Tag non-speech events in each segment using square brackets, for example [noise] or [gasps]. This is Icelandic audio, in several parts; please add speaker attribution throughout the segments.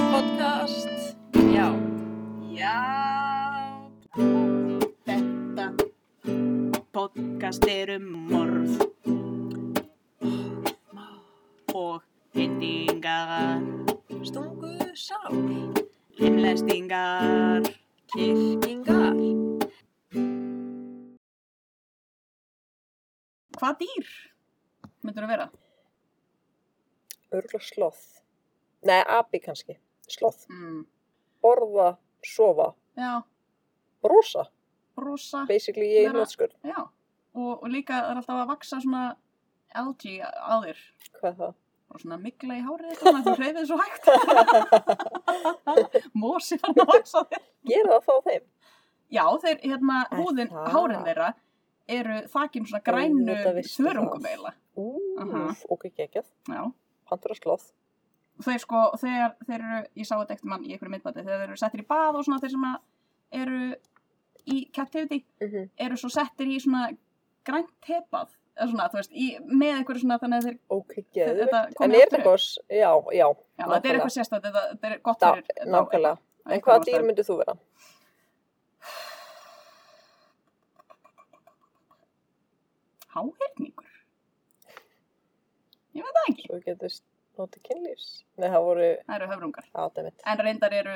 Speaker 1: podcast Já Já Þetta podcast er um morð og hendingar stungu sál limlestingar kirkingar Hvað dýr?
Speaker 2: myndur að vera?
Speaker 3: Örgla sloth. Nei, api kannski. Sloth.
Speaker 2: Mm.
Speaker 3: Borða, sofa,
Speaker 2: Já,
Speaker 3: brosa.
Speaker 2: rosa,
Speaker 3: Basically ég er
Speaker 2: Vera-
Speaker 3: hlótskur.
Speaker 2: já. Og, og líka það er alltaf að vaksa svona algae á þér.
Speaker 3: Hvað er það?
Speaker 2: Bara svona mikla í hárið eitthvað, svona, þú hreyfið svo hægt. [laughs] Mosi fann að vaksa á þér.
Speaker 3: Gera það þá þeim?
Speaker 2: Já, þeir, hérna,
Speaker 3: Er
Speaker 2: húðin,
Speaker 3: það?
Speaker 2: hárin þeirra eru þakin svona grænu
Speaker 3: Auðvitað vissi
Speaker 2: þörungum
Speaker 3: það.
Speaker 2: eiginlega.
Speaker 3: Ú,
Speaker 2: Aha.
Speaker 3: ok, geggjað.
Speaker 2: Já.
Speaker 3: Pantur að sloth.
Speaker 2: þeir sko, þegar þeir eru, ég sá þetta eftir mann í einhverju myndbæti, þegar þeir eru settir í bað og svona þeir sem að eru í captivity,
Speaker 3: Mhm.
Speaker 2: eru svo settir í svona grænt tepað, eða svona, þú veist, í, með einhverju svona, þannig að þeir,
Speaker 3: Ok,
Speaker 2: þeir
Speaker 3: geggjað.
Speaker 2: þetta
Speaker 3: En er þetta
Speaker 2: komi aftur upp.
Speaker 3: eitthvað, s- já, já,
Speaker 2: Já, þetta er
Speaker 3: nákvæmlega.
Speaker 2: eitthvað sérstætt, þetta, þetta er gott
Speaker 3: da,
Speaker 2: fyrir. þetta á-
Speaker 3: nákvæmlega. En
Speaker 2: á einhverjum
Speaker 3: hvaða
Speaker 2: ástæðum.
Speaker 3: dýr myndið þú vera?
Speaker 2: Háhyrningur? Ég veit það ekki,
Speaker 3: Svo getur notið kynlífs. Nei, það voru,
Speaker 2: það eru höfrungar.
Speaker 3: aðdæmið.
Speaker 2: En reyndar eru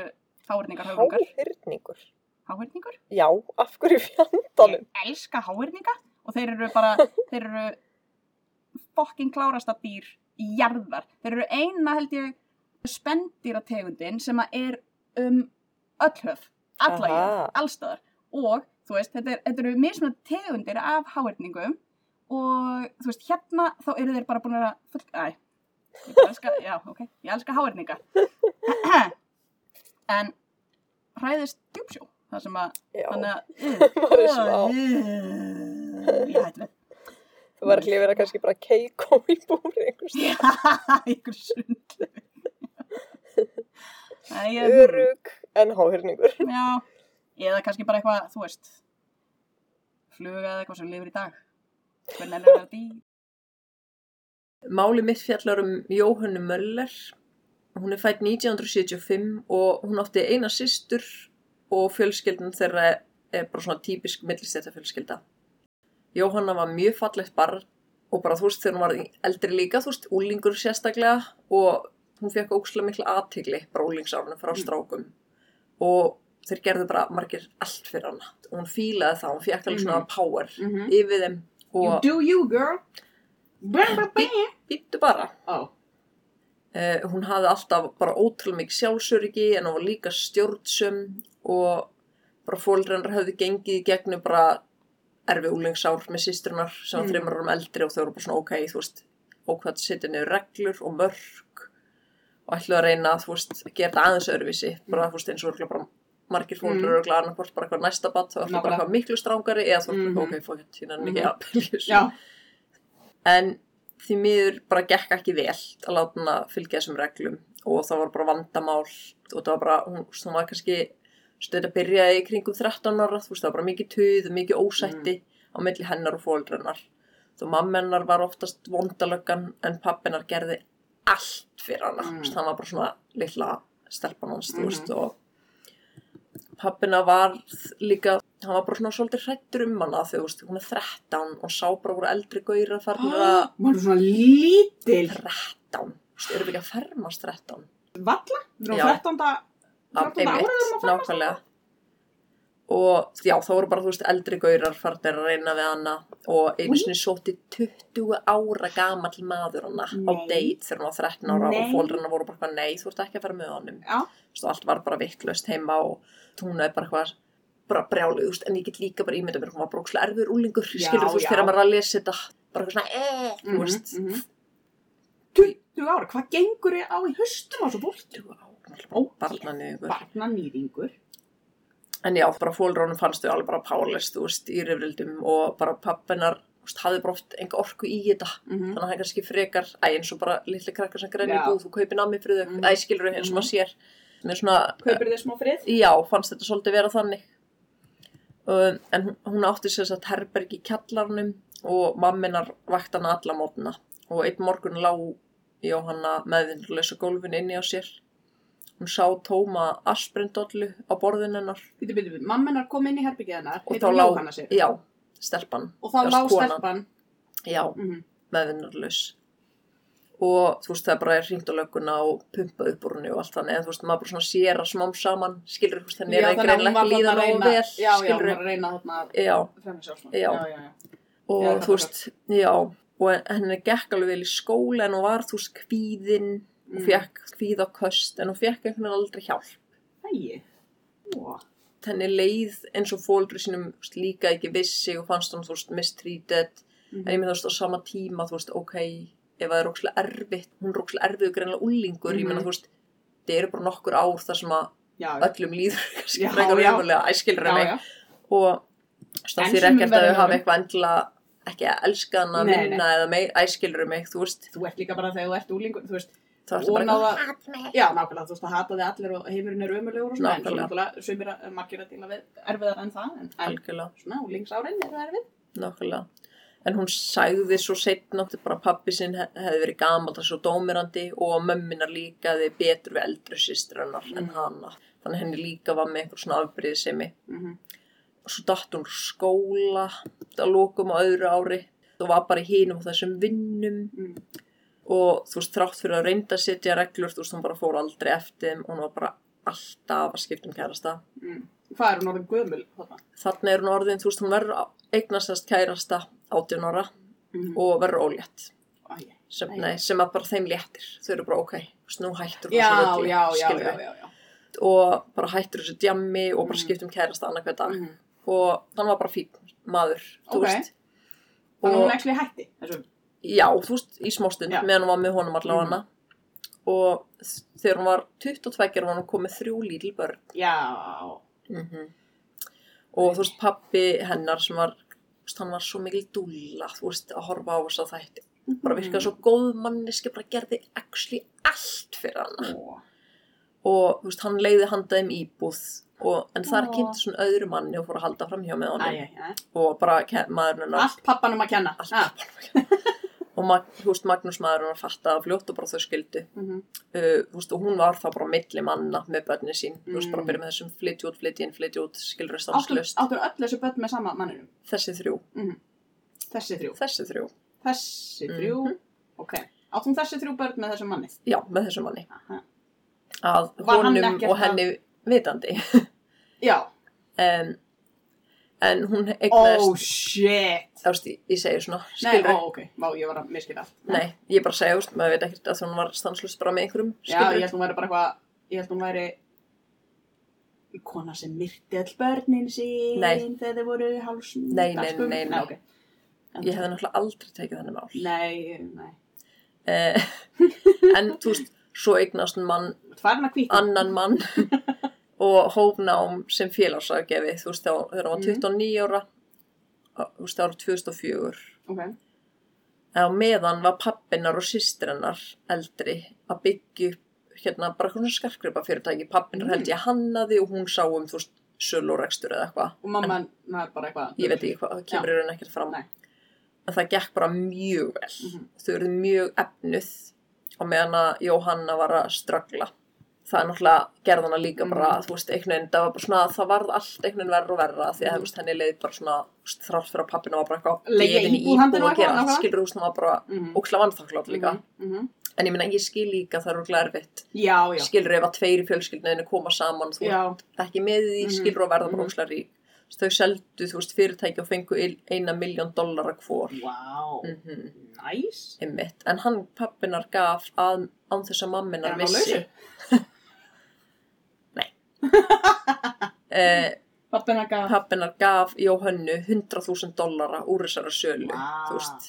Speaker 2: háhyrningar höfrungar.
Speaker 3: Háhyrningur.
Speaker 2: Háhyrningur?
Speaker 3: Já, af hverju fjandanum?
Speaker 2: Ég elska háirninga og þeir eru bara,
Speaker 3: [laughs]
Speaker 2: þeir eru fokkin klárasta dýr í jarðar. Þeir eru eina held ég spendýrategundin sem að er um öll höf, alla
Speaker 3: Aha.
Speaker 2: jörð, allstaðar. Og þú veist, þetta, er, þetta eru mismunat tegundir af háirningum og þú veist, hérna þá eru þeir bara búin að vera full... Æ, ég bara elska, já, ok, ég
Speaker 3: [laughs]
Speaker 2: elska háirninga. en hræðist djúpsjó, það sem að
Speaker 3: Já,
Speaker 2: Þannig
Speaker 3: [laughs] maður er smá.
Speaker 2: að uh, Ég hætti
Speaker 3: Þú var ekki að vera kannski bara keiko í búri einhvers
Speaker 2: með Ykkur sundlu Æ, ég-
Speaker 3: örug en háhyrningur.
Speaker 2: Já, eða kannski bara eitthvað, þú veist Fluga eða eitthvað sem lifir í dag Hvernig er þetta í
Speaker 4: Máli mitt fjallar um Jóhannu Möller. Hún er fætt 1975 og hún átti eina systur og fjölskeldun þeirra er bara svona típisk millistetta fjölskelda. Jóhanna var mjög fallegt barn og bara þú veist þegar hún var eldri líka, þú veist, úlingur sérstaklega og hún fekk ókslega mikla aðtigli bara úlingsárunum frá
Speaker 2: Mm.
Speaker 4: strákum og þeir gerðu bara margir allt fyrir hana og hún fílaði það, hún fekk alveg svona power
Speaker 2: Mhm.
Speaker 4: yfir þeim og
Speaker 2: do you girl Brum, brum, brum
Speaker 4: býttu bara.
Speaker 2: Ó,
Speaker 4: Uh, hún hafði alltaf bara ótrúlega mikið sjálfsöryggi en hún var líka stjórnsum og bara fólrennar höfðu gengið í gegnum bara erfi úlengsár með sýstrunar sem var
Speaker 2: Mm.
Speaker 4: þreymar árum eldri og þau voru bara svona ok, þú veist, ókvæmt setja niður reglur og mörg og ætlu að reyna þú veist, að gera þetta aðeins öðruvísi, bara þú veist, eins og örugglega bara margir fólk
Speaker 2: Mm.
Speaker 4: eru örugglega annarkvort bara eitthvað næsta bat, þá ætlu bara
Speaker 2: Nákvæmlega.
Speaker 4: eitthvað miklu strángari eða þú
Speaker 2: Mhm.
Speaker 4: ætlu ok, fók hérna, hérna er mikið
Speaker 2: Mhm.
Speaker 4: aðbyrjus
Speaker 2: já
Speaker 4: en því miður bara gekk ekki vel að láta hana fylgja þessum reglum og það var bara vandamál og það var bara, hún, þú veist, hún var kannski stöðið að byrja í kringum 13 ára þú veist, það var bara mikið tuð, mikið ósætti á milli hennar og fóldrennar þú mamma hennar var oftast vondalöggan en pappinar gerði allt fyrir hana,
Speaker 2: Mm.
Speaker 4: mm. hann var bara svona lilla stelpan hans, þú
Speaker 2: Mhm.
Speaker 4: veist og pappina var líka, hann var bara svona svolítið hrættur um hana þegar, þú veist, hún er 13 og sá bara voru eldri gauðra farnir að
Speaker 2: Máru svona lítil
Speaker 4: 13 Þú erum við ekki að fermast 13
Speaker 2: Valla, við
Speaker 4: erum á Já.
Speaker 2: 13.
Speaker 4: nákvæmlega og já, þá voru bara, þú veist, eldri gaurar farnir að reyna við hana og einu sinni sótti 20 ára gamall maður hana á
Speaker 2: Nei.
Speaker 4: date þegar hún var 13 ára
Speaker 2: Nei.
Speaker 4: og fólk hennar voru bara, eitthvað, nei, þú ert ekki að fara með honum
Speaker 2: Já.
Speaker 4: Þú veist, og allt var bara vittlust heima og hún er bara eitthvað bara brjálið, þú veist, en ég get líka bara ímynda mér hún var brókslega erfur úlingur,
Speaker 2: Já,
Speaker 4: skilur þú veist,
Speaker 2: já. Mhm,
Speaker 4: þegar maður er að lesa þetta bara eitthvað svona, eh, þú veist
Speaker 2: 20 ára, hvað gengur ég á í höstum á svo fólki?
Speaker 4: 20 ára, barnanið ykkur
Speaker 2: Barna nýðingur.
Speaker 4: En já, bara fólkrónum fannst þau alveg bara pálist, þú veist, í rifrildum og bara pappinar, þú veist, hafði bara oft enga orku í þetta.
Speaker 5: Mhm.
Speaker 4: Þannig að það er kannski frekar, æ, eins og bara litli krakkar sem græni í
Speaker 2: Já.
Speaker 4: búð, þú kaupir nami fyrir þau,
Speaker 2: Mhm.
Speaker 4: æ, skilur þau eins og maður sér. Mér svona, eh,
Speaker 2: Kaupir þið smá frið?
Speaker 4: já, fannst þetta svolítið vera þannig. Um, en hún- hún átti sér þess að herbergi í kjallarnum og mamminar vakti hana alla mótna. Og einn morgun lá Jóhanna meðvinnulegs á gólfinu inni á sér Hún sá tóma asprindollu á borðin hennar
Speaker 5: Býtu, býtu, býtu, mamma hennar kom inn í herbyggið hennar,
Speaker 4: og
Speaker 5: heitir Jóhanna sér.
Speaker 4: já, stelpan,
Speaker 5: Og þá
Speaker 4: Já,
Speaker 5: lá
Speaker 4: konan.
Speaker 5: stelpan.
Speaker 4: já,
Speaker 5: Mhm.
Speaker 4: meðvinnarlaus. Og þú veist, það bara er hringt á lögguna og pumpað upp úr henni og allt þannig, en þú veist, maður bara svona sér að smám saman, skilur, þú veist, henni er
Speaker 5: Já,
Speaker 4: einhver
Speaker 5: hún
Speaker 4: einlega
Speaker 5: var
Speaker 4: ekki líðan
Speaker 5: þarna að
Speaker 4: og vel,
Speaker 5: reyna- Já, já, hún
Speaker 4: skilur,
Speaker 5: var að reyna þarna að
Speaker 4: já,
Speaker 5: fremja sjálfsmann.
Speaker 4: Já.
Speaker 5: já, já.
Speaker 4: og
Speaker 5: Já, þetta
Speaker 4: þú veist, já, og henni gekk alveg vel í skóla en hún var, þú veist, kvíðin og
Speaker 5: Mm.
Speaker 4: fekk kvíð á köst, en hún fekk einhvern veginn aldrei hjálp.
Speaker 5: Æi. Ó,
Speaker 4: henni leið eins og fóldur sínum þú veist, líka ekki vissi og fannst hann þú veist mistreated en ég
Speaker 5: mhm.
Speaker 4: með þú veist á sama tíma þú veist ok ef það er rókslega erfitt hún er rókslega erfið og greinlega úlingur ég
Speaker 5: Mhm.
Speaker 4: meina þú veist það eru bara nokkur ár þar sem að
Speaker 5: Já,
Speaker 4: öllum líður [laughs] kannski
Speaker 5: Já,
Speaker 4: frekar
Speaker 5: já.
Speaker 4: umhverlega
Speaker 5: já,
Speaker 4: æskilur mig
Speaker 5: já.
Speaker 4: og það
Speaker 5: En
Speaker 4: fyrir
Speaker 5: sumum
Speaker 4: ekkert að
Speaker 5: verður
Speaker 4: þau hafa
Speaker 5: öðrum.
Speaker 4: eitthvað endilega ekki að elska hann að
Speaker 5: Nei, nei.
Speaker 4: minna eða mei- æskilur mig þú veist
Speaker 5: Þú ert líka bara þegar þú ert úlingur, þú veist,
Speaker 4: það er
Speaker 5: Og
Speaker 4: bara
Speaker 5: náða-
Speaker 4: eitthvað,
Speaker 5: já, nákvæmlega, þú veist, það hataði allir og heimurinn er ömulegur og svona, en svo
Speaker 4: Nákvæmlega.
Speaker 5: náttúrulega, sömur að margir að díla við erfiðar en það, en, en
Speaker 4: algjörlega
Speaker 5: svona, úlingsárin eru erfið.
Speaker 4: Nákvæmlega. En hún sagði svo setna átti bara að pappi sinn he- hefði verið gamaldags og dómirandi og mömminar líkaði betur við eldri sýstur hennar en
Speaker 5: Mm.
Speaker 4: hana. Þannig að henni líka var með einhver svona afbrýðisemi.
Speaker 5: Mm
Speaker 4: Og svo datt hún úr skóla að lokum á öðru ári og var bara í hinum og þessum vinnum
Speaker 5: Mm.
Speaker 4: og þú veist þrátt fyrir að reynda að setja reglur þú veist hún bara fór aldrei eftir þeim og hún var bara alltaf að skipta um kærasta.
Speaker 5: mm. Hvað er hún orðin gömul þarna?
Speaker 4: Þannig er hún orðin, þú veist hún verður á- eignast þess kærasta 18 ára
Speaker 5: Mm.
Speaker 4: og verður ólétt.
Speaker 5: Æi.
Speaker 4: sem,
Speaker 5: Æ.
Speaker 4: nei, sem að bara þeim léttir þau eru bara ok, þú veist, nú hættur hún
Speaker 5: Já,
Speaker 4: þessu
Speaker 5: já,
Speaker 4: rugli,
Speaker 5: já, já,
Speaker 4: skilur
Speaker 5: já,
Speaker 4: við.
Speaker 5: já, já.
Speaker 4: og bara hættur þessu djammi og bara
Speaker 5: Mm.
Speaker 4: skiptum kærast annað hver dag
Speaker 5: Mhm.
Speaker 4: og hann var bara fín maður, þú
Speaker 5: Ok.
Speaker 4: veist
Speaker 5: Þannig að hún
Speaker 4: og
Speaker 5: ekki hætti, þessum.
Speaker 4: já, þú veist, í smástund
Speaker 5: Já.
Speaker 4: meðan hún var með honum allavega
Speaker 5: Mm.
Speaker 4: hana og þ- þegar hún var 22 var hún komið þrjú lítil börn
Speaker 5: Já,
Speaker 4: og þú veist, pappi hennar sem var þú veist, hann var svo mikil dúlla, þú veist, að horfa á þess að þætti.
Speaker 5: Mhm.
Speaker 4: Bara virkaði svo góð manneski, bara gerði actually allt fyrir hana.
Speaker 5: Ó.
Speaker 4: og þú veist, hann leiði handaðum íbúð og, en þar
Speaker 5: Ó.
Speaker 4: kynnti svona öðru manni og fór að halda fram hjá með honum
Speaker 5: Æi, æi.
Speaker 4: og bara ke- maðurinn hennar
Speaker 5: Allt pappanum að kenna.
Speaker 4: Allt
Speaker 5: Ah.
Speaker 4: og Mag- þú veist, Magnús maðurinn hennar fattaði að fljótt og bara þau skildu uh,
Speaker 5: Mhm.
Speaker 4: þú veist, og hún var þá bara milli manna með börni sín, þú veist, bara
Speaker 5: Mm.
Speaker 4: að byrja með þessum flytja út, flytja inn, flytja út, skilur
Speaker 5: Áttu
Speaker 4: stanslust,
Speaker 5: áttu öll þessu börn með sama manninum. Mhm.
Speaker 4: þessi þrjú
Speaker 5: Þessi þrjú.
Speaker 4: þessi þrjú,
Speaker 5: Þessi þrjú. Ok. Áttum þessi þrjú börn með þessum manni.
Speaker 4: já, með þessum manni
Speaker 5: Aha.
Speaker 4: að
Speaker 5: Var hann
Speaker 4: honum
Speaker 5: ekkert
Speaker 4: og henni vitandi
Speaker 5: Já.
Speaker 4: en, en hún
Speaker 5: Oh
Speaker 4: eignaðist,
Speaker 5: shit.
Speaker 4: þú veist, ég- ég segi svona
Speaker 5: Nei, oh,
Speaker 4: skilur
Speaker 5: ó, ok. Vá, ég var að miskita allt.
Speaker 4: Nei, ég bara segja, þú veist, maður veit ekkert að hún var stanslust bara með einhverjum
Speaker 5: Já, ég held hún væri bara eitthvað, ég held hún væri kona sem myrti all börnin sín
Speaker 4: Nei.
Speaker 5: þegar þau voru hálsum
Speaker 4: Nei, nei, nei, nei.
Speaker 5: nei, ok.
Speaker 4: Ég hefði náttúrulega aldrei tekið þannig mál.
Speaker 5: nei, nei.
Speaker 4: Eh, en, þú veist, svo eignast hún mann,
Speaker 5: Þú ert farin að kvíta
Speaker 4: annan
Speaker 5: [laughs]
Speaker 4: mann og hófnám sem félagsargefi, þú veist, þá- þegar hún var
Speaker 5: Mhm.
Speaker 4: 29 ára, á- þú veist, ára 2004.
Speaker 5: Ok,
Speaker 4: En á meðan var pappinnar og systrennar eldri að byggja upp hérna bara eitthvað svona skarkripa fyrirtæki. Pappinnar held
Speaker 5: Mm.
Speaker 4: ég hannaði og hún sá um, þú veist, sölu og rekstur eða eitthvað.
Speaker 5: og mamma er bara eitthvað
Speaker 4: ég veit ekki hvað, það kemur í raun ekkert fram
Speaker 5: Nei.
Speaker 4: en það gekk bara mjög vel
Speaker 5: Mhm.
Speaker 4: þau eru mjög efnuð og meðan að Jóhanna var að ströggla það er náttúrulega gerðana líka bara,
Speaker 5: Mhm.
Speaker 4: þú veist, einhvern veginn það var bara svona, það varð allt einhvern veginn verra og verra því að þú veist, henni leið bara svona þú veist, þrátt fyrir að pappina var bara eitthvað
Speaker 5: Mhm. Leigja
Speaker 4: gefin í
Speaker 5: íbúð handa henni
Speaker 4: og
Speaker 5: og
Speaker 4: gera
Speaker 5: eitthvað
Speaker 4: allt
Speaker 5: annað.
Speaker 4: skilur þú veist, hún var bara
Speaker 5: Mhm.
Speaker 4: ókslega vannþaklátt líka
Speaker 5: mm -hmm.
Speaker 4: en ég meina, ég skil líka það eru glerfitt
Speaker 5: Já, já,
Speaker 4: skilur ef að tveir í fjölskyldinu koma saman þú
Speaker 5: já,
Speaker 4: ekki með því,
Speaker 5: Mhm.
Speaker 4: skilur og verða
Speaker 5: Mhm.
Speaker 4: bara óslega rík. Þess, Þau seldu, þú veist, fyrirtæki og fengu il- eina miljón dollara hvor.
Speaker 5: wow,
Speaker 4: Mm -hmm.
Speaker 5: næs
Speaker 4: Einmitt. En hann, pappinar, gaf að, án þess að
Speaker 5: Er
Speaker 4: mamminar
Speaker 5: hann á lausu?
Speaker 4: vissi. [laughs] [laughs] Eh,
Speaker 5: Pappin að gaf
Speaker 4: pappinar gaf Jóhönnu 100.000 dollara úr þessara sölu,
Speaker 5: Vá.
Speaker 4: þú veist.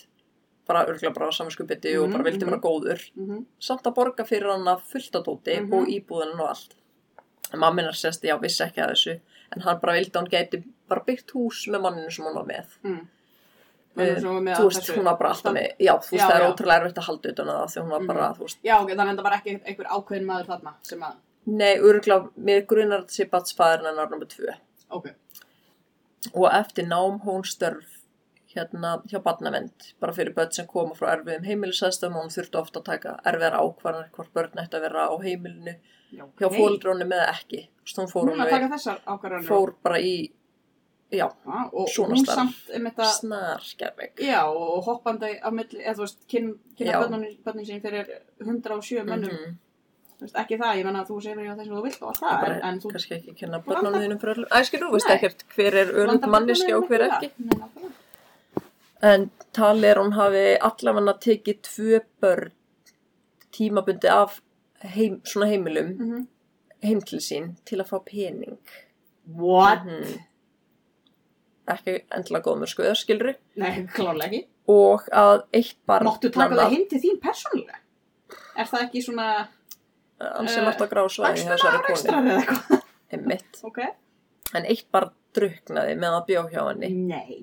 Speaker 4: Bara örgla bara samanskupiti mm og bara
Speaker 5: Mhm,
Speaker 4: vildi
Speaker 5: mhm.
Speaker 4: vera góður.
Speaker 5: Mhm.
Speaker 4: Samt að borga fyrir hana fulltadóti mm
Speaker 5: Mhm.
Speaker 4: og íbúðan og allt. En mamminar sérst, já, vissi ekki að þessu. En hann bara vildi að hún gæti bara byggt hús með manninu sem hún var með.
Speaker 5: Mm.
Speaker 4: Eh,
Speaker 5: Þannig að hún var með
Speaker 4: þú
Speaker 5: allt
Speaker 4: veist,
Speaker 5: þessu-
Speaker 4: hún var bara alltaf með já, þú veist,
Speaker 5: Já,
Speaker 4: það er
Speaker 5: já.
Speaker 4: ótrúlega erfitt að halda utan að það því hún var
Speaker 5: Mhm.
Speaker 4: bara, þú veist,
Speaker 5: Já, ok, þannig að það var ekki einhver ákveðin maður þarna sem að,
Speaker 4: nei, örgla mér grunar að sé batsfæðurinn hennar nummer tvö
Speaker 5: ok
Speaker 4: og eftir nám hún störf hjá hérna, hjá barnavend, bara fyrir börn sem koma frá erfiðum heimilisæðstöðum og hún þurfti ofta að taka erfiðar ákvarðanir hvort börn ætti að vera á heimilinu hjá okay. fóldrónum eða ekki. Þú veist, hún fór,
Speaker 5: Hún er að
Speaker 4: alveg,
Speaker 5: taka þessar ákvarðanir.
Speaker 4: fór bara í, já,
Speaker 5: Já, og
Speaker 4: Svona
Speaker 5: hún
Speaker 4: starf.
Speaker 5: samt um þetta,
Speaker 4: snarkervik.
Speaker 5: já, og hoppandi á milli, eða þú veist, kyn,
Speaker 4: Já.
Speaker 5: kynna bönnin, bönnin sín fyrir 107 mönnum, mm
Speaker 4: -hmm.
Speaker 5: veist, ekki það, ég menna að þú segir já það sem þú vilt og allt það, en,
Speaker 4: Bara
Speaker 5: en þú
Speaker 4: kannski ekki kenna börnunum þínum fyrir öllum. Æ, skilur, þú veist
Speaker 5: Nei.
Speaker 4: ekkert hver er
Speaker 5: blandar
Speaker 4: örund
Speaker 5: börnunum
Speaker 4: manneskja og hver
Speaker 5: það.
Speaker 4: ekki.
Speaker 5: Nei, nákvæmlega.
Speaker 4: En talið er að hún hafi allavega tekið tvö börn tímabundi af heim, svona heimilum
Speaker 5: Mhm.
Speaker 4: heim til sín til að fá pening.
Speaker 5: What?
Speaker 4: Mhm. Ekki endilega góðmur skoðar, skilur.
Speaker 5: Nei, klálega ekki.
Speaker 4: Og að eitt barn...
Speaker 5: Máttu taka það hinn til þín persónulega? Er það ekki svona
Speaker 4: Alls er
Speaker 5: Eh,
Speaker 4: margt á grá svæði hjá þessari konu.
Speaker 5: rekstrar eða eitthvað?
Speaker 4: Einmitt.
Speaker 5: Ok.
Speaker 4: En eitt barn druknaði með að bjó hjá henni.
Speaker 5: Nei.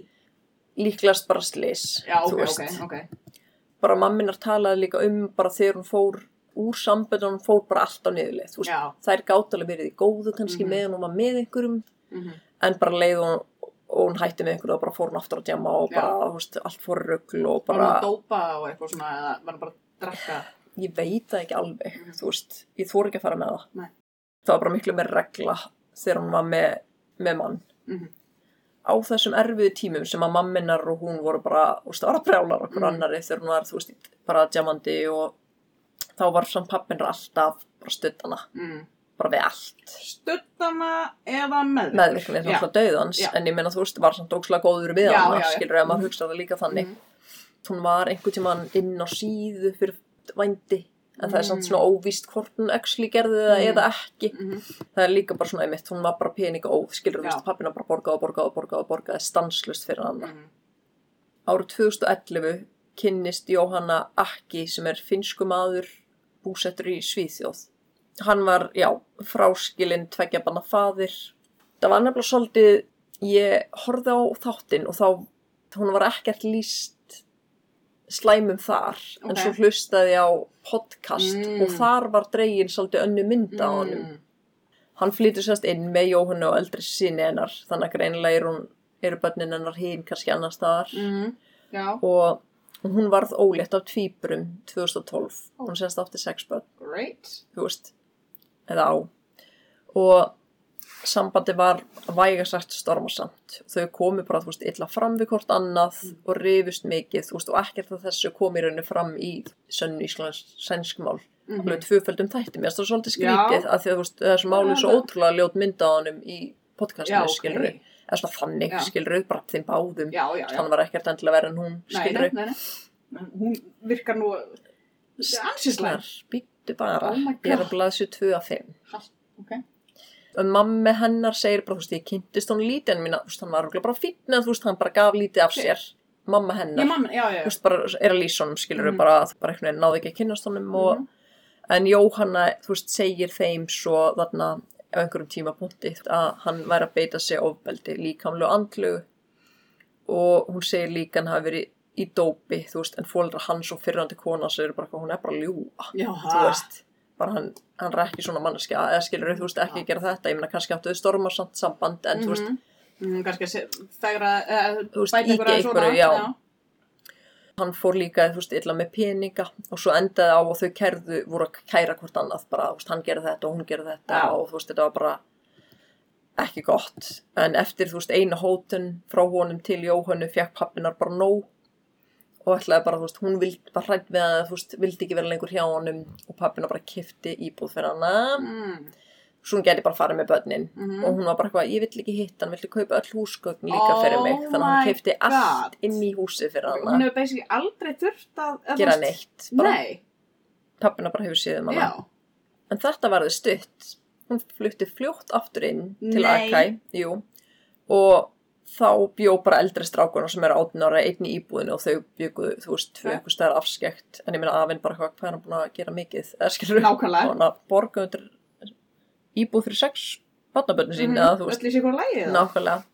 Speaker 4: Líklegast bara slis.
Speaker 5: Já,
Speaker 4: þú
Speaker 5: ok,
Speaker 4: veist.
Speaker 5: ok, ok.
Speaker 4: Bara mamminar talaði líka um bara þegar hún fór úr samböndunum fór bara allt á niðurlið. Þú veist,
Speaker 5: Já.
Speaker 4: þær gátt alveg verið í góðu kannski
Speaker 5: Mhm.
Speaker 4: með hún og var með einhverjum
Speaker 5: Mm
Speaker 4: en bara leið hún og hún hætti með einhverju og bara fór hún aftur að djama og
Speaker 5: Já.
Speaker 4: bara, þú veist, allt fór ruggl og
Speaker 5: Bara
Speaker 4: bara,
Speaker 5: að dópa og eitthvað svona, eða var hann bara að drakka?
Speaker 4: ég veit það ekki alveg, þú veist, ég þór ekki að fara með það.
Speaker 5: Nei.
Speaker 4: Það var bara miklu meir regla þegar hún var með, með mann.
Speaker 5: Mhm.
Speaker 4: Á þessum erfiðu tímum sem að mamminar og hún voru bara, þú veist, það var að brjálar okkur
Speaker 5: Mhm.
Speaker 4: annari þegar hún var, þú veist, bara djamandi og þá var samt pappinar alltaf bara stuttana,
Speaker 5: Mm.
Speaker 4: bara við allt.
Speaker 5: Stuttana eða meðvirk?
Speaker 4: meðvirkni er
Speaker 5: Já.
Speaker 4: náttúrulega dauðans
Speaker 5: Já.
Speaker 4: en ég meina þú veist, var samt ókslega góður við
Speaker 5: Já,
Speaker 4: hana
Speaker 5: já, Mm. já.
Speaker 4: skilur ég að maður hugsa það líka þannig
Speaker 5: Mhm.
Speaker 4: hún var einhvern tímann inn á síðu fyrir vændi en það er samt
Speaker 5: Mm.
Speaker 4: svona óvíst hvort hún actually gerði það
Speaker 5: Mm.
Speaker 4: eða ekki
Speaker 5: Mhm.
Speaker 4: það er líka bara svona einmitt, hún var bara pening og óð skilur þú
Speaker 5: Já.
Speaker 4: veist, pappina bara borgaði og borgaði og borgaði og borgaði stanslust fyrir hana
Speaker 5: Mhm.
Speaker 4: árið 2011 kynnist Jóhanna Akki sem er finsku maður búsettur í Svíþjóð. Hann var, já, fráskilinn tveggja banna faðir. Það var nefnilega svolítið, ég horfði á þáttinn og þá, hún var ekkert líst slæmum þar, en
Speaker 5: Ok.
Speaker 4: svo hlustaði ég á podcast
Speaker 5: Mm.
Speaker 4: og þar var dregin svolítið önnu mynda á honum.
Speaker 5: Mm.
Speaker 4: Hann flytur sérst inn með Jóhanna og eldri sinni hennar, þannig að greinilega er hún, eru bönnin hennar hín kannski annar staðar
Speaker 5: Mhm. Já,
Speaker 4: og hún varð ólétt af tvíburum 2012. Hún semst átti sex börn,
Speaker 5: great.
Speaker 4: þú veist, eða á. Og sambandi var vægasagt stormasamt. Þau komu bara, þú veist, illa fram við hvort annað og rifust mikið, þú veist, og ekkert af þessu kom í rauninu fram í sönnu íslensk sænskmál.
Speaker 5: Mm
Speaker 4: Alveg tvöföldum þætti, mér finnst það svolítið
Speaker 5: Já.
Speaker 4: skrítið að því að þú veist, þessu máli er svo
Speaker 5: Já, það-
Speaker 4: ótrúlega ljót mynda á honum í podcastinu,
Speaker 5: Já,
Speaker 4: já,
Speaker 5: ok.
Speaker 4: skilur Eða svona þannig,
Speaker 5: Já.
Speaker 4: já. skilur bara þeim báðum
Speaker 5: Já, já, já.
Speaker 4: hann var ekkert endilega verið en hún
Speaker 5: Nei,
Speaker 4: skilur
Speaker 5: nei, nei, nei. En Hún virkar nú ansinslæm.
Speaker 4: býttu bara
Speaker 5: Oh my
Speaker 4: ég er
Speaker 5: God.
Speaker 4: að blaðsju 2 af 5
Speaker 5: Ok.
Speaker 4: og mammi hennar segir bara, þú veist, ég kynntist hún lítið en mín, þú veist, hann var örugglega bara fínn en þú veist, hann bara gaf lítið af sér mamma
Speaker 5: Ég
Speaker 4: hennar,
Speaker 5: mann, já, já,
Speaker 4: þú
Speaker 5: já.
Speaker 4: veist, bara er að lýsa honum skilur
Speaker 5: Mhm.
Speaker 4: bara, þú bara einhvern veginn náði ekki að kynnast honum
Speaker 5: Mhm.
Speaker 4: og, en Jóhanna, þú veist, segir þeim svo þarna á einhverjum tímapunkti að hann væri að beita sig ofbeldi líkamlu og andlu og hún segir líka hann hafi verið í dópi, þú veist, en fóldra hans og fyrrandi kona segir bara, hún er bara að ljúa
Speaker 5: Já,
Speaker 4: þú veist, bara hann, hann er ekki svona manneskja, eða skilur þú veist ekki gera þetta, ég meina kannski áttu þau stormarsamt samband, en þú veist,
Speaker 5: Mm, kannski að se- fegra, uh,
Speaker 4: Þú veist,
Speaker 5: bæta
Speaker 4: ýkja
Speaker 5: aðeins
Speaker 4: einhverju, já. hann fór líka, þú veist, illa með peninga og svo endaði á og þau kerðu, voru að kæra hvort annað, bara, þú veist, hann gera þetta og hún gera þetta
Speaker 5: Já.
Speaker 4: og þú veist, þetta var bara ekki gott, en eftir, þú veist, eina hótun frá honum til Jóhannu fekk pappinar bara nóg og ætlaði bara, þú veist, hún vild, var hrætt með að, þú veist, vildi ekki vera lengur hjá honum og pappinar bara kifti íbúð fyrir hana,
Speaker 5: Mm,
Speaker 4: svo hún geti bara farið með börnin
Speaker 5: mhm.
Speaker 4: og hún var bara eitthvað, ég vill ekki hitta hann, villi kaupa öll húsgögn líka fyrir mig
Speaker 5: Oh
Speaker 4: þannig að hann
Speaker 5: my
Speaker 4: keipti
Speaker 5: God.
Speaker 4: allt inn í húsi fyrir
Speaker 5: Hún
Speaker 4: hann
Speaker 5: hefur basically aldrei þurft að... að
Speaker 4: gera
Speaker 5: þú veist-
Speaker 4: neitt, bara
Speaker 5: Nei,
Speaker 4: pappina bara hefur séð um hana
Speaker 5: já.
Speaker 4: en þetta varði stutt hún flutti fljótt aftur inn til
Speaker 5: Nei.
Speaker 4: Akai jú, og þá bjó bara eldri strákunar sem eru 18 ára einn í íbúðinu og þau bjögu, þú veist, tvö
Speaker 5: Ja.
Speaker 4: einhver stær afskekt en ég meina afinn bara hvað, hvað er hann búin að gera mikið eða skilur
Speaker 5: Nákvæmlega.
Speaker 4: hann að borga undir íbúð fyrir sex barnabönni
Speaker 5: Mhm.
Speaker 4: sín eða þú veist
Speaker 5: Öll í sig hvora lagið?
Speaker 4: Nákvæmlega.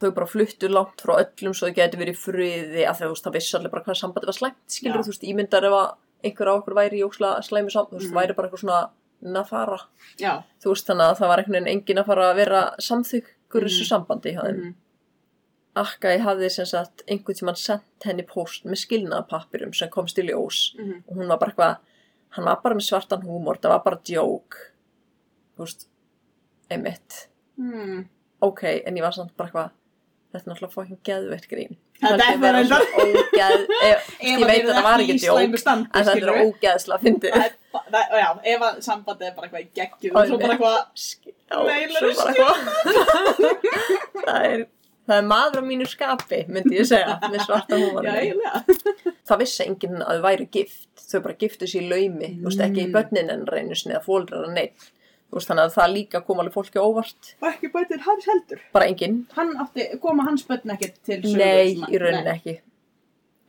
Speaker 4: Þau bara fluttu langt frá öllum svo þau geti verið í friði að þau, þú veist, það vissi allir bara hvað sambandi var slæmt, skilur
Speaker 5: Já.
Speaker 4: þú veist, ímyndar ef að einhver á okkur væri í ósla slæmi saman, þú veist,
Speaker 5: Mhm.
Speaker 4: væri bara eitthvað svona nafara,
Speaker 5: Já.
Speaker 4: þú veist, þannig að það var einhvern veginn engin að fara að vera samþykkur þessu
Speaker 5: Mhm.
Speaker 4: sambandi hjá þeim.
Speaker 5: mhm.
Speaker 4: Akka ég hafði sem sagt einhvern tímann sendt henni post með skilnaðapappirum sem komst í ljós
Speaker 5: Mhm.
Speaker 4: og hún var bara eitthvað, hann var bara með svartan húmor, það var bara djók, þú veist, einmitt,
Speaker 5: Hmm.
Speaker 4: ok, en ég var samt bara eitthvað, þetta er náttúrulega fókin geðveitt grín.
Speaker 5: Þetta er
Speaker 4: bara
Speaker 5: það reyndar.
Speaker 4: svo ógeð, ef, ég veit að það var ekki djók, en þetta er ógeðslega fyndið.
Speaker 5: Það er, það, já, ef að sambandið er bara eitthvað í geggjum og svo bara eitthvað
Speaker 4: Já,
Speaker 5: Nei,
Speaker 4: svo
Speaker 5: Lars.
Speaker 4: bara eitthvað. það, er, það er maður á mínu skapi, myndi ég segja, með svarta
Speaker 5: Já,
Speaker 4: húmanum.
Speaker 5: eiginlega
Speaker 4: Það vissi enginn að þau væri gift, þau bara giftu sér í laumi, þú veist, ekki í börnin en reynu sinni eða fóldrar en neitt. Þú veist, þannig að það líka kom alveg fólki á óvart,
Speaker 5: Og ekki bætir hans heldur
Speaker 4: bara enginn.
Speaker 5: Hann átti, koma hans börn ekkert til sögu
Speaker 4: Nei,
Speaker 5: svona.
Speaker 4: í rauninni ekki.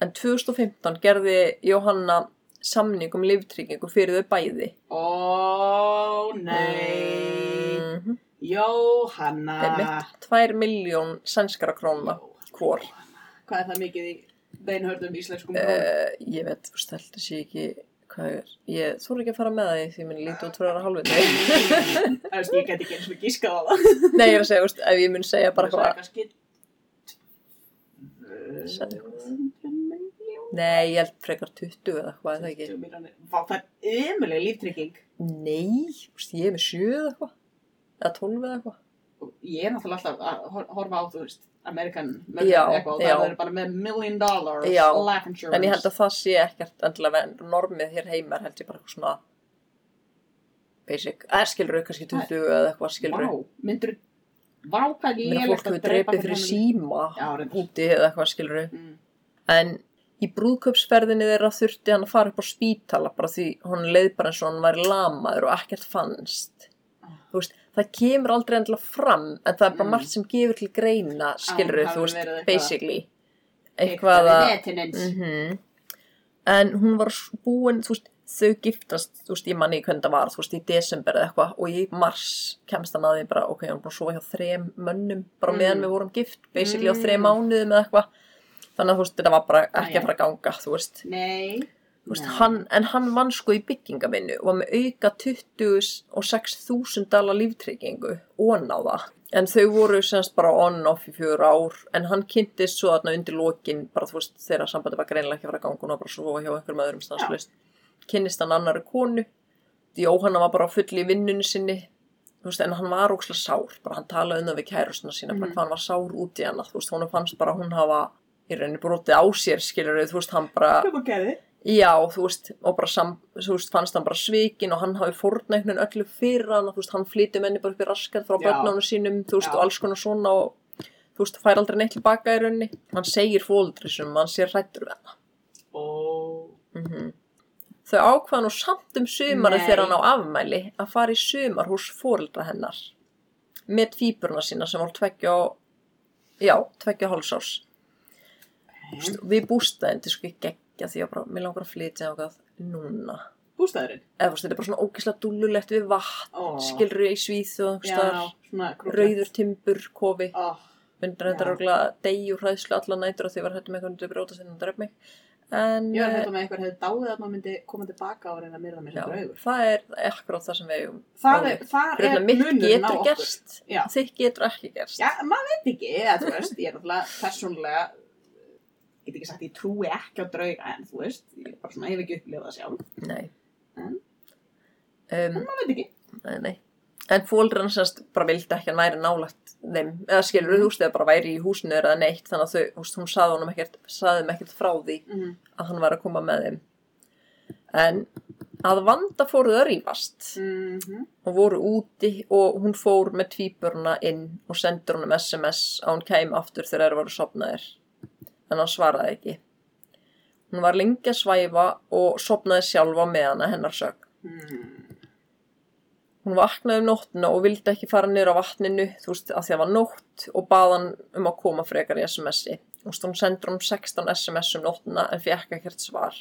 Speaker 4: En 2015 gerði Jóhanna samning um liftrygging fyrir þau bæði.
Speaker 5: Ó, nei
Speaker 4: Mhm.
Speaker 5: Jóhanna
Speaker 4: Ah. Einmitt. Tvær miljón sænskara krónna hvort.
Speaker 5: Hvað er það mikið í beinhörðum íslenskum uh,
Speaker 4: Uh, ég veit, þú veist, heldur sé ekki hvað er, ég þóra ekki að fara með það því minn lítið út fyrir að halvið
Speaker 5: Æst, Ég get ekki eins og gískað á það
Speaker 4: [laughs] Nei, ég er að segja, þú veist, ef ég mun segja bara
Speaker 5: Það er
Speaker 4: hvað
Speaker 5: kannski
Speaker 4: Sagði eitthvað.
Speaker 5: 200 milljón
Speaker 4: Nei, ég held frekar 20 eða hvað er það ekki
Speaker 5: 20 milljónir. um Vá, Það er ömuleg líftrygging
Speaker 4: Nei, þú veist, ég er með 7 eða hvað eða 12 eða hvað
Speaker 5: Og ég er náttúrulega alltaf að hor- horfa á, þú veist, American,
Speaker 4: Já,
Speaker 5: American eitthvað og
Speaker 4: já.
Speaker 5: það eru bara með million dollars
Speaker 4: Já,
Speaker 5: life insurance.
Speaker 4: En ég held að það sé ekkert endilega ven- normið hér heima er held ég bara eitthvað svona basic, eða skilur þau kannski 20 eða eitthvað skilur
Speaker 5: Vá, myndur, vá hvað ég
Speaker 4: Mér fólk hefur dreipið fyrir síma
Speaker 5: Já, reyndar.
Speaker 4: úti eða eitthvað skilur
Speaker 5: Mm.
Speaker 4: En í brúðkaupsferðinni þeirra þurfti hann að fara upp á spítala bara því hún leið bara eins og hann væri lamaður og ekkert fannst. Þú veist, það kemur aldrei endilega fram en það er bara
Speaker 5: Ah. Mm.
Speaker 4: margt sem gefur til greina, skilur
Speaker 5: hafi
Speaker 4: þú veist,
Speaker 5: verið eitthvað-
Speaker 4: basically. Eitthvað að...
Speaker 5: Mm.
Speaker 4: Mhm. En hún var s- búin, þú veist, þau giftast, þú veist, ég manni í hvernig það var, þú veist, í desember eða eitthvað og í mars kemst hann að því bara, ok, hann er búin að sofa hjá þrem mönnum, bara meðan
Speaker 5: Mm.
Speaker 4: við vorum gift, basically á
Speaker 5: Mm.
Speaker 4: þrem mánuðum eða eitthvað. Þannig að þú veist, þetta var bara ekki
Speaker 5: Æ,
Speaker 4: að fara að ganga, þú veist.
Speaker 5: Nei.
Speaker 4: Þú veist
Speaker 5: Nei.
Speaker 4: hann, en hann vann sko í byggingavinnu og var með auka 26.000 dala líftryggingu og náða. En þau voru semst bara on off í fjögur ár en hann kynntist svo þarna undir lokin bara þú veist þegar sambandi var greinilega ekki að fara að ganga og hún var bara svo hjá einhverjum öðrum stanslust. Kynnist hann annari konu. Jóhanna var bara á fulli í vinnunni sinni. Þú veist, en hann var ókslega sár, bara hann talaði um það við kærustuna sína, bara
Speaker 5: Mhm.
Speaker 4: hvað hann var sár út í hana, þú veist, hún fannst bara hún hafa í rauninni brotið á sér, skilur þú veist, hann bara,
Speaker 5: Hvað var gerði?
Speaker 4: Já, þú veist, og bara sam, þú veist, fannst hann bara svikin og hann hafi fórna einhvern veginn öllu fyrir hann og þú veist, hann flýti menni bara upp í raskat frá
Speaker 5: Já.
Speaker 4: börnunum sínum, þú veist,
Speaker 5: Já.
Speaker 4: og alls konar svona og þú veist, fær aldrei neitt tilbaka í raunni. Hann segir fóldri sem hann sé hrættur við hana.
Speaker 5: Ó,
Speaker 4: Mm Þau ákvaða nú samt um sumarið
Speaker 5: Nei.
Speaker 4: þegar hann á afmæli að fara í sumar hús fóldra hennar með fýburna sína sem voru tveggja og, já, tveggja og hálsás. Þú veist, Við bústæðin til sko ekki geggja því að bara, mér langar að flytja þangað núna.
Speaker 5: bústæðurinn.
Speaker 4: Eða þú veist, þetta er bara svona ógislega dúllulegt við vatn,
Speaker 5: Ó.
Speaker 4: skilur í svíð og
Speaker 5: Já,
Speaker 4: einhverstaðar,
Speaker 5: svona krúklegt.
Speaker 4: rauður timbur, kofi,
Speaker 5: Ó,
Speaker 4: myndir þetta
Speaker 5: Já.
Speaker 4: röglega degi og hræðslu allan nætur og því var hættum eitthvað að brjóta sinna að dref mig. En,
Speaker 5: Ég var að
Speaker 4: eh,
Speaker 5: hluta með eitthvað hefði dáið að maður myndi koma tilbaka og reyna að myrða með
Speaker 4: já,
Speaker 5: þessi draugur.
Speaker 4: það er akkurat það sem við eigum.
Speaker 5: Það
Speaker 4: Óli.
Speaker 5: er, það
Speaker 4: Röglega
Speaker 5: er
Speaker 4: mitt
Speaker 5: munurinn á
Speaker 4: getur
Speaker 5: okkur.
Speaker 4: gerst,
Speaker 5: Já.
Speaker 4: þitt getur ekki gerst.
Speaker 5: Já, maður veit ekki, eða þú veist, ég er náttúrulega persónlega, get ekki sagt, ég trúi ekki á drauga, en þú veist, ég bara svona hef ekki upplifað það sjálf,
Speaker 4: Nei.
Speaker 5: En?
Speaker 4: Um,
Speaker 5: en maður veit ekki.
Speaker 4: nei, nei. En fóldrann semst bara vildi ekki að hann væri nálægt þeim, eða skilur þú veist, eða bara væri í húsinu eða neitt, þannig að þau, þú veist, hún saði honum ekkert, saði þeim ekkert frá því
Speaker 5: Mm.
Speaker 4: að hann var að koma með þeim. En að vanda fóruð að rýfast
Speaker 5: Mm -hmm.
Speaker 4: og voru úti og hún fór með tvíburna inn og sendur honum SMS að hún kæm aftur þegar þær voru sopnaðir. En hann svaraði ekki. Hún var lengi að svæfa og sopnaði sjálfa með hana hennar sög. mhm.
Speaker 5: Mm.
Speaker 4: Hún vaknaði um nóttina og vildi ekki fara niður á vatninu, þú veist, að því að var nótt og bað hann um að koma frekar í SMS-i. Þú veist, hún sendur um 16 SMS um nóttina en fekk ekkert svar.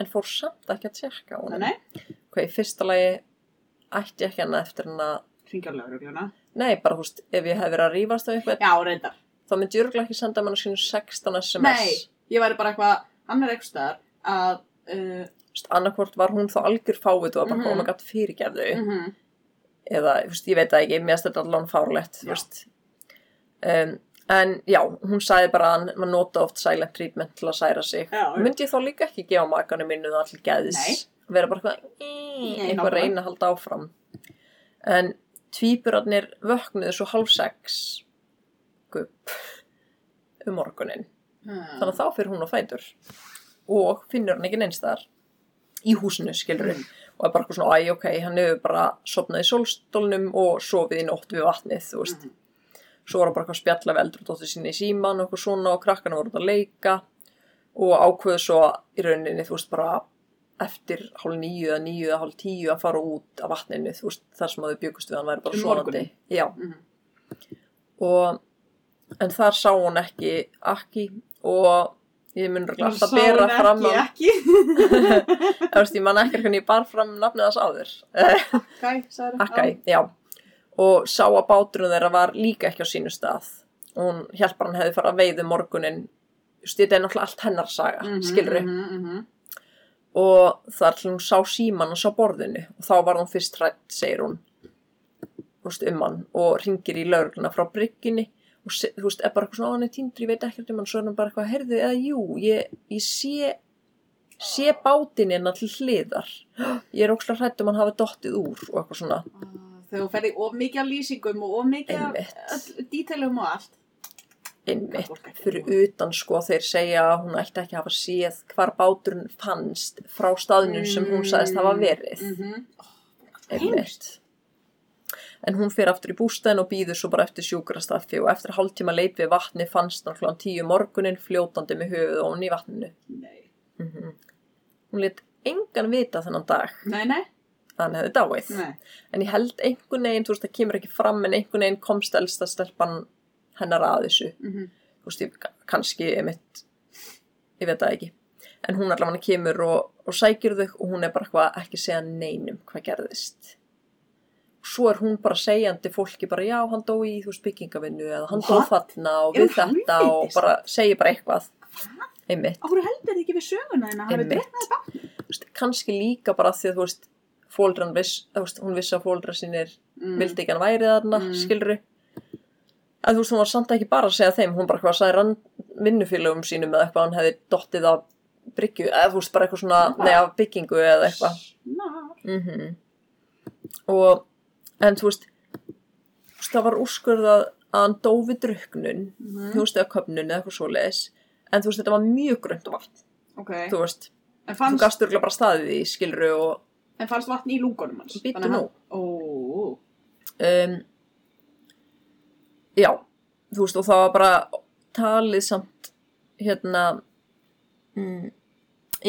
Speaker 4: En fór samt ekki að tjekka á henni.
Speaker 5: Nei,
Speaker 4: Hvað í fyrsta lagi ætti ég ekki hana eftir henn að,
Speaker 5: hringja á laurugluna.
Speaker 4: nei, bara, þú veist, ef ég hef verið að rífast á eitthvað,
Speaker 5: Já, reyndar.
Speaker 4: þá myndi ég örgulega ekki senda mann á sínu 16 SMS.
Speaker 5: Nei, ég væri bara eitthvað, hann er eitthvað staðar að, uh,
Speaker 4: Þú veist, annarkvort var hún þá algjör fávit og var bara, mm
Speaker 5: Mhm.
Speaker 4: -hmm. oh my god, fyrirgefðu.
Speaker 5: mm -hmm.
Speaker 4: eða, þú veist, ég veit það ekki, mér finnst þetta allan fárlegt, þú
Speaker 5: Já.
Speaker 4: veist. Um, En já, hún sagði bara að hann- maður nota oft silent treatment til að særa sig.
Speaker 5: Já, já.
Speaker 4: Myndi ég þá líka ekki gefa makanum minnu það allir geðis. Nei. Vera bara eitthvað,
Speaker 5: Nei,
Speaker 4: eitthvað
Speaker 5: nákvæmlega.
Speaker 4: reyna að halda áfram. En tvíburarnir vöknuðu svo hálf sex gupp um morgunin.
Speaker 5: Hmm.
Speaker 4: Þannig að þá fyrir hún á fætur og finnur hann ekki neins þar í húsinu, skilur við. Og er bara eitthvað svona, æ, ok, hann hefur bara sopnað í sólstólnum og sofið í nótt við vatnið, þú veist. Svo var hann bara eitthvað að spjalla við eldur og dóttir sína í síman og eitthvað svona og krakkana voru út að leika og ákveðu svo í rauninni, þú veist, bara eftir hálf níu eða níu eða hálf tíu að fara út af vatninu, þú veist, þar sem að þau byggust við hann væri bara
Speaker 5: Um
Speaker 4: svonandi.
Speaker 5: morguninn?
Speaker 4: Já, og en þar sá hún ekki Akki og ég mun örugglega alltaf bera fram að,
Speaker 5: [laughs] ekki,
Speaker 4: þú veist, ég man ekki hvernig ég bar fram nafnið þess áður Eh,
Speaker 5: ekki. Særa,
Speaker 4: Akkai, já og sá að báturinn þeirra var líka ekki á sínu stað og hún hjálpar hann hefði fara að veiðu morgunin Just, þetta er náttúrulega allt hennar saga, mm skilur
Speaker 5: mm -hmm.
Speaker 4: og þar til hún sá síman hans á borðinu og þá var hún fyrst hrætt, segir hún þú veist, um hann og ringir í laurugluna frá bryggjunni og se- þú veist, er bara eitthvað svona, "Ó, hann er tindur, ég veit ekkert um hann svo er hann bara eitthvað, heyrðu, eða jú ég, ég sé sé bátinn hennar til hliðar [gasps] ég er ókslega hrætt um hann hafi dottið úr og eitthvað svona,
Speaker 5: Þegar þú ferði of mikið af lýsingum og of mikið af
Speaker 4: Einmitt.
Speaker 5: öll- dítelum og allt.
Speaker 4: einmitt
Speaker 5: Fólk ekki
Speaker 4: fyrir
Speaker 5: búið.
Speaker 4: utan sko þeir segja að hún ætti ekki að hafa séð hvar báturinn fannst frá staðnum sem hún sagðist hafa verið
Speaker 5: Mhm.
Speaker 4: Einmitt. En hún fyrir aftur í bústæðin og býður svo bara eftir sjúkrastaffi og eftir hálftíma leit við vatni fannst hann klán tíu morgunin fljótandi með höfuð og hún í vatninu.
Speaker 5: Nei.
Speaker 4: Hún let engan vita þennan dag
Speaker 5: Nei, nei,
Speaker 4: að hann hefði dáið.
Speaker 5: nei.
Speaker 4: En ég held einhvern veginn, þú veist, það kemur ekki fram en einhvern veginn komst elsta stelpan hennar að þessu.
Speaker 5: Mhm.
Speaker 4: Þú veist, ég, kannski einmitt, ég veit það ekki. En hún allavega kemur og, og sækir þau og hún er bara eitthvað ekki segja neinum hvað gerðist. Svo er hún bara segjandi fólki bara já, hann dó í þú veist byggingavinnu eða hann dó
Speaker 5: What?
Speaker 4: þarna og
Speaker 5: Er
Speaker 4: við
Speaker 5: hún
Speaker 4: þetta og
Speaker 5: helvítis?
Speaker 4: bara segir bara eitthvað. Einmitt
Speaker 5: Áhverju heldur þið ekki við söguna þína? Hann er
Speaker 4: einmitt Þú veist, kannski líka bara því að þú veist fóldran viss, þú veist, hún vissi að fóldra sinir
Speaker 5: Mm.
Speaker 4: vildi ekki hann væri þarna,
Speaker 5: Mm.
Speaker 4: mm. skilri að þú veist, hún var samt ekki bara að segja þeim, hún bara hvað sagði rann vinnufélögum sínum eða eitthvað hann hefði dottið af bryggju, eða þú veist, bara eitthvað svona
Speaker 5: Bara-
Speaker 4: nei, af byggingu eða eitthvað
Speaker 5: Ná,
Speaker 4: mm
Speaker 5: Mhm.
Speaker 4: og en þú veist, þú veist, það var úrskurðað að hann dó við druknun
Speaker 5: Mm.
Speaker 4: þú veist, eða köpnun eða eitthvað svoleiðis en þú veist, þetta var mjög grönt vatn
Speaker 5: ok.
Speaker 4: þú veist,
Speaker 5: En
Speaker 4: þú
Speaker 5: fannst,
Speaker 4: gast örgulega bara staðið í skilru og
Speaker 5: en fannst vatn í lungunum hans?
Speaker 4: Bíddu
Speaker 5: Þannig að
Speaker 4: nú.
Speaker 5: hann- Ó,
Speaker 4: um, já, þú veist og það var bara talið samt hérna mm,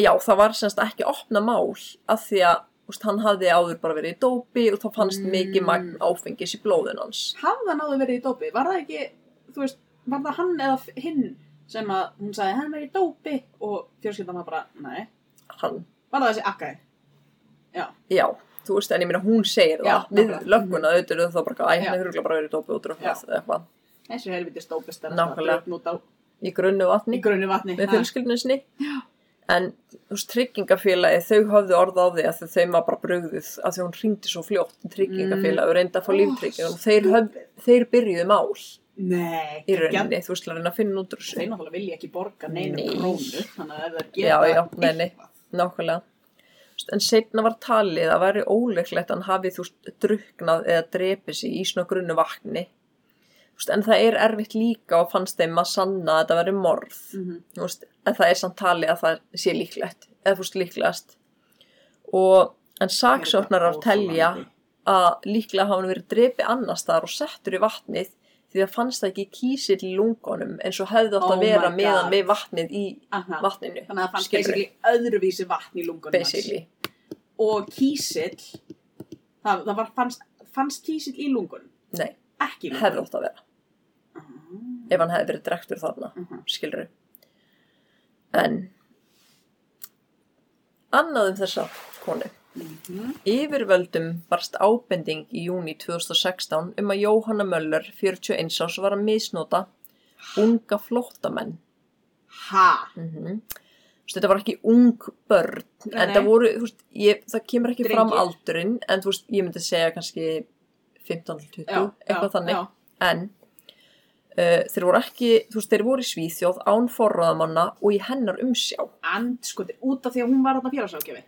Speaker 4: já, það var semst ekki opna mál af því að þú veist, hann hafði áður bara verið í dópi og þá fannst
Speaker 5: Mm.
Speaker 4: mikið magn áfengis í blóðun hans
Speaker 5: hafði hann áður verið í dópi? Var það ekki, þú veist, var það hann eða f- hinn sem að hún sagði hann verið í dópi og fjölskyldan var bara, nei.
Speaker 4: hann,
Speaker 5: Var það þessi akkæði?
Speaker 4: já, þú veist en ég meina hún segir
Speaker 5: Já,
Speaker 4: það við
Speaker 5: nákvæmlega. Mhm.
Speaker 4: lögguna auðvitað er það bara, æ,
Speaker 5: Já.
Speaker 4: hann er huglega bara verið í dópi og
Speaker 5: Já.
Speaker 4: dröfnað eða eitthvað,
Speaker 5: Þessi helvitist dópist er
Speaker 4: Nákvæmlega.
Speaker 5: brjótn út á
Speaker 4: í grunnu vatni
Speaker 5: í grunni vatni.
Speaker 4: með
Speaker 5: Ha.
Speaker 4: fjölskyldinu sinni en þú veist, tryggingafélagi þau höfðu orð á því að þau- þeim var bara brugðuð að því hún hringdi svo fljótt í tryggingafélagi og reyndi að fá
Speaker 5: Mm. Ó,
Speaker 4: líftrygging og þeir, höf, þeir byrjuðu mál
Speaker 5: Nei,
Speaker 4: í
Speaker 5: geggjað.
Speaker 4: rauninni, þú veist, til að reyna að finna út úr
Speaker 5: Þeir
Speaker 4: þessu
Speaker 5: náttúrulega vilja ekki borga neinu
Speaker 4: Nei.
Speaker 5: krónu, þannig að ef þeir
Speaker 4: Já,
Speaker 5: geta
Speaker 4: já, nei, nei.
Speaker 5: eitthvað.
Speaker 4: nákvæmlega Þú veist, en setna var talið að væri óleiklegt að hann hafi þú veist, druknað eða drepið sig í svona grunnu vakni Þú veist, en það er erfitt líka og fannst þeim að sanna að þetta veri morð
Speaker 5: Mhm.
Speaker 4: Þú veist, en það er samt talið að það sé líklegt eða þú veist líklegast og en saksóknarar
Speaker 5: Þetta er
Speaker 4: telja
Speaker 5: óþolandi.
Speaker 4: að líklega hafa hann verið dreipið annars staðar og settur í vatnið því það fannst það ekki kísill í lungunum eins og hefði átt
Speaker 5: Oh
Speaker 4: að vera
Speaker 5: my
Speaker 4: meðan
Speaker 5: God.
Speaker 4: við vatnið í
Speaker 5: Aha.
Speaker 4: vatninu
Speaker 5: Þannig að það
Speaker 4: Skilurðu?
Speaker 5: fannst basically öðruvísi vatn í lungunum
Speaker 4: basically,
Speaker 5: hans. Og kísill, það, það var, fannst, fannst kísill í lungunum,
Speaker 4: nei,
Speaker 5: ekki í
Speaker 4: hefði
Speaker 5: lungunum.
Speaker 4: átt að vera
Speaker 5: Hefðu.
Speaker 4: ef hann hefði verið drektur þarna
Speaker 5: Mhm.
Speaker 4: skilur en annað um þessa konu
Speaker 5: Mhm.
Speaker 4: Yfirvöldum barst ábending í júni 2016 um að Jóhanna Möller, 41 árs, var að misnota unga flóttamenn.
Speaker 5: Ha?
Speaker 4: Mm Þetta var ekki ung börn,
Speaker 5: Mhm. Nei,
Speaker 4: en það
Speaker 5: nei.
Speaker 4: voru, þú veist, ég, það kemur ekki fram
Speaker 5: Drengir.
Speaker 4: aldurinn, en þú veist, ég myndi segja kannski 15-20,
Speaker 5: Já,
Speaker 4: eitthvað
Speaker 5: já,
Speaker 4: þannig.
Speaker 5: já.
Speaker 4: En Uh, þeir voru ekki, þú veist, þeir voru í Svíþjóð án forraðamanna og í hennar umsjá.
Speaker 5: Andskoti, sko, út af því að hún var þarna fjárhagsákjöfi.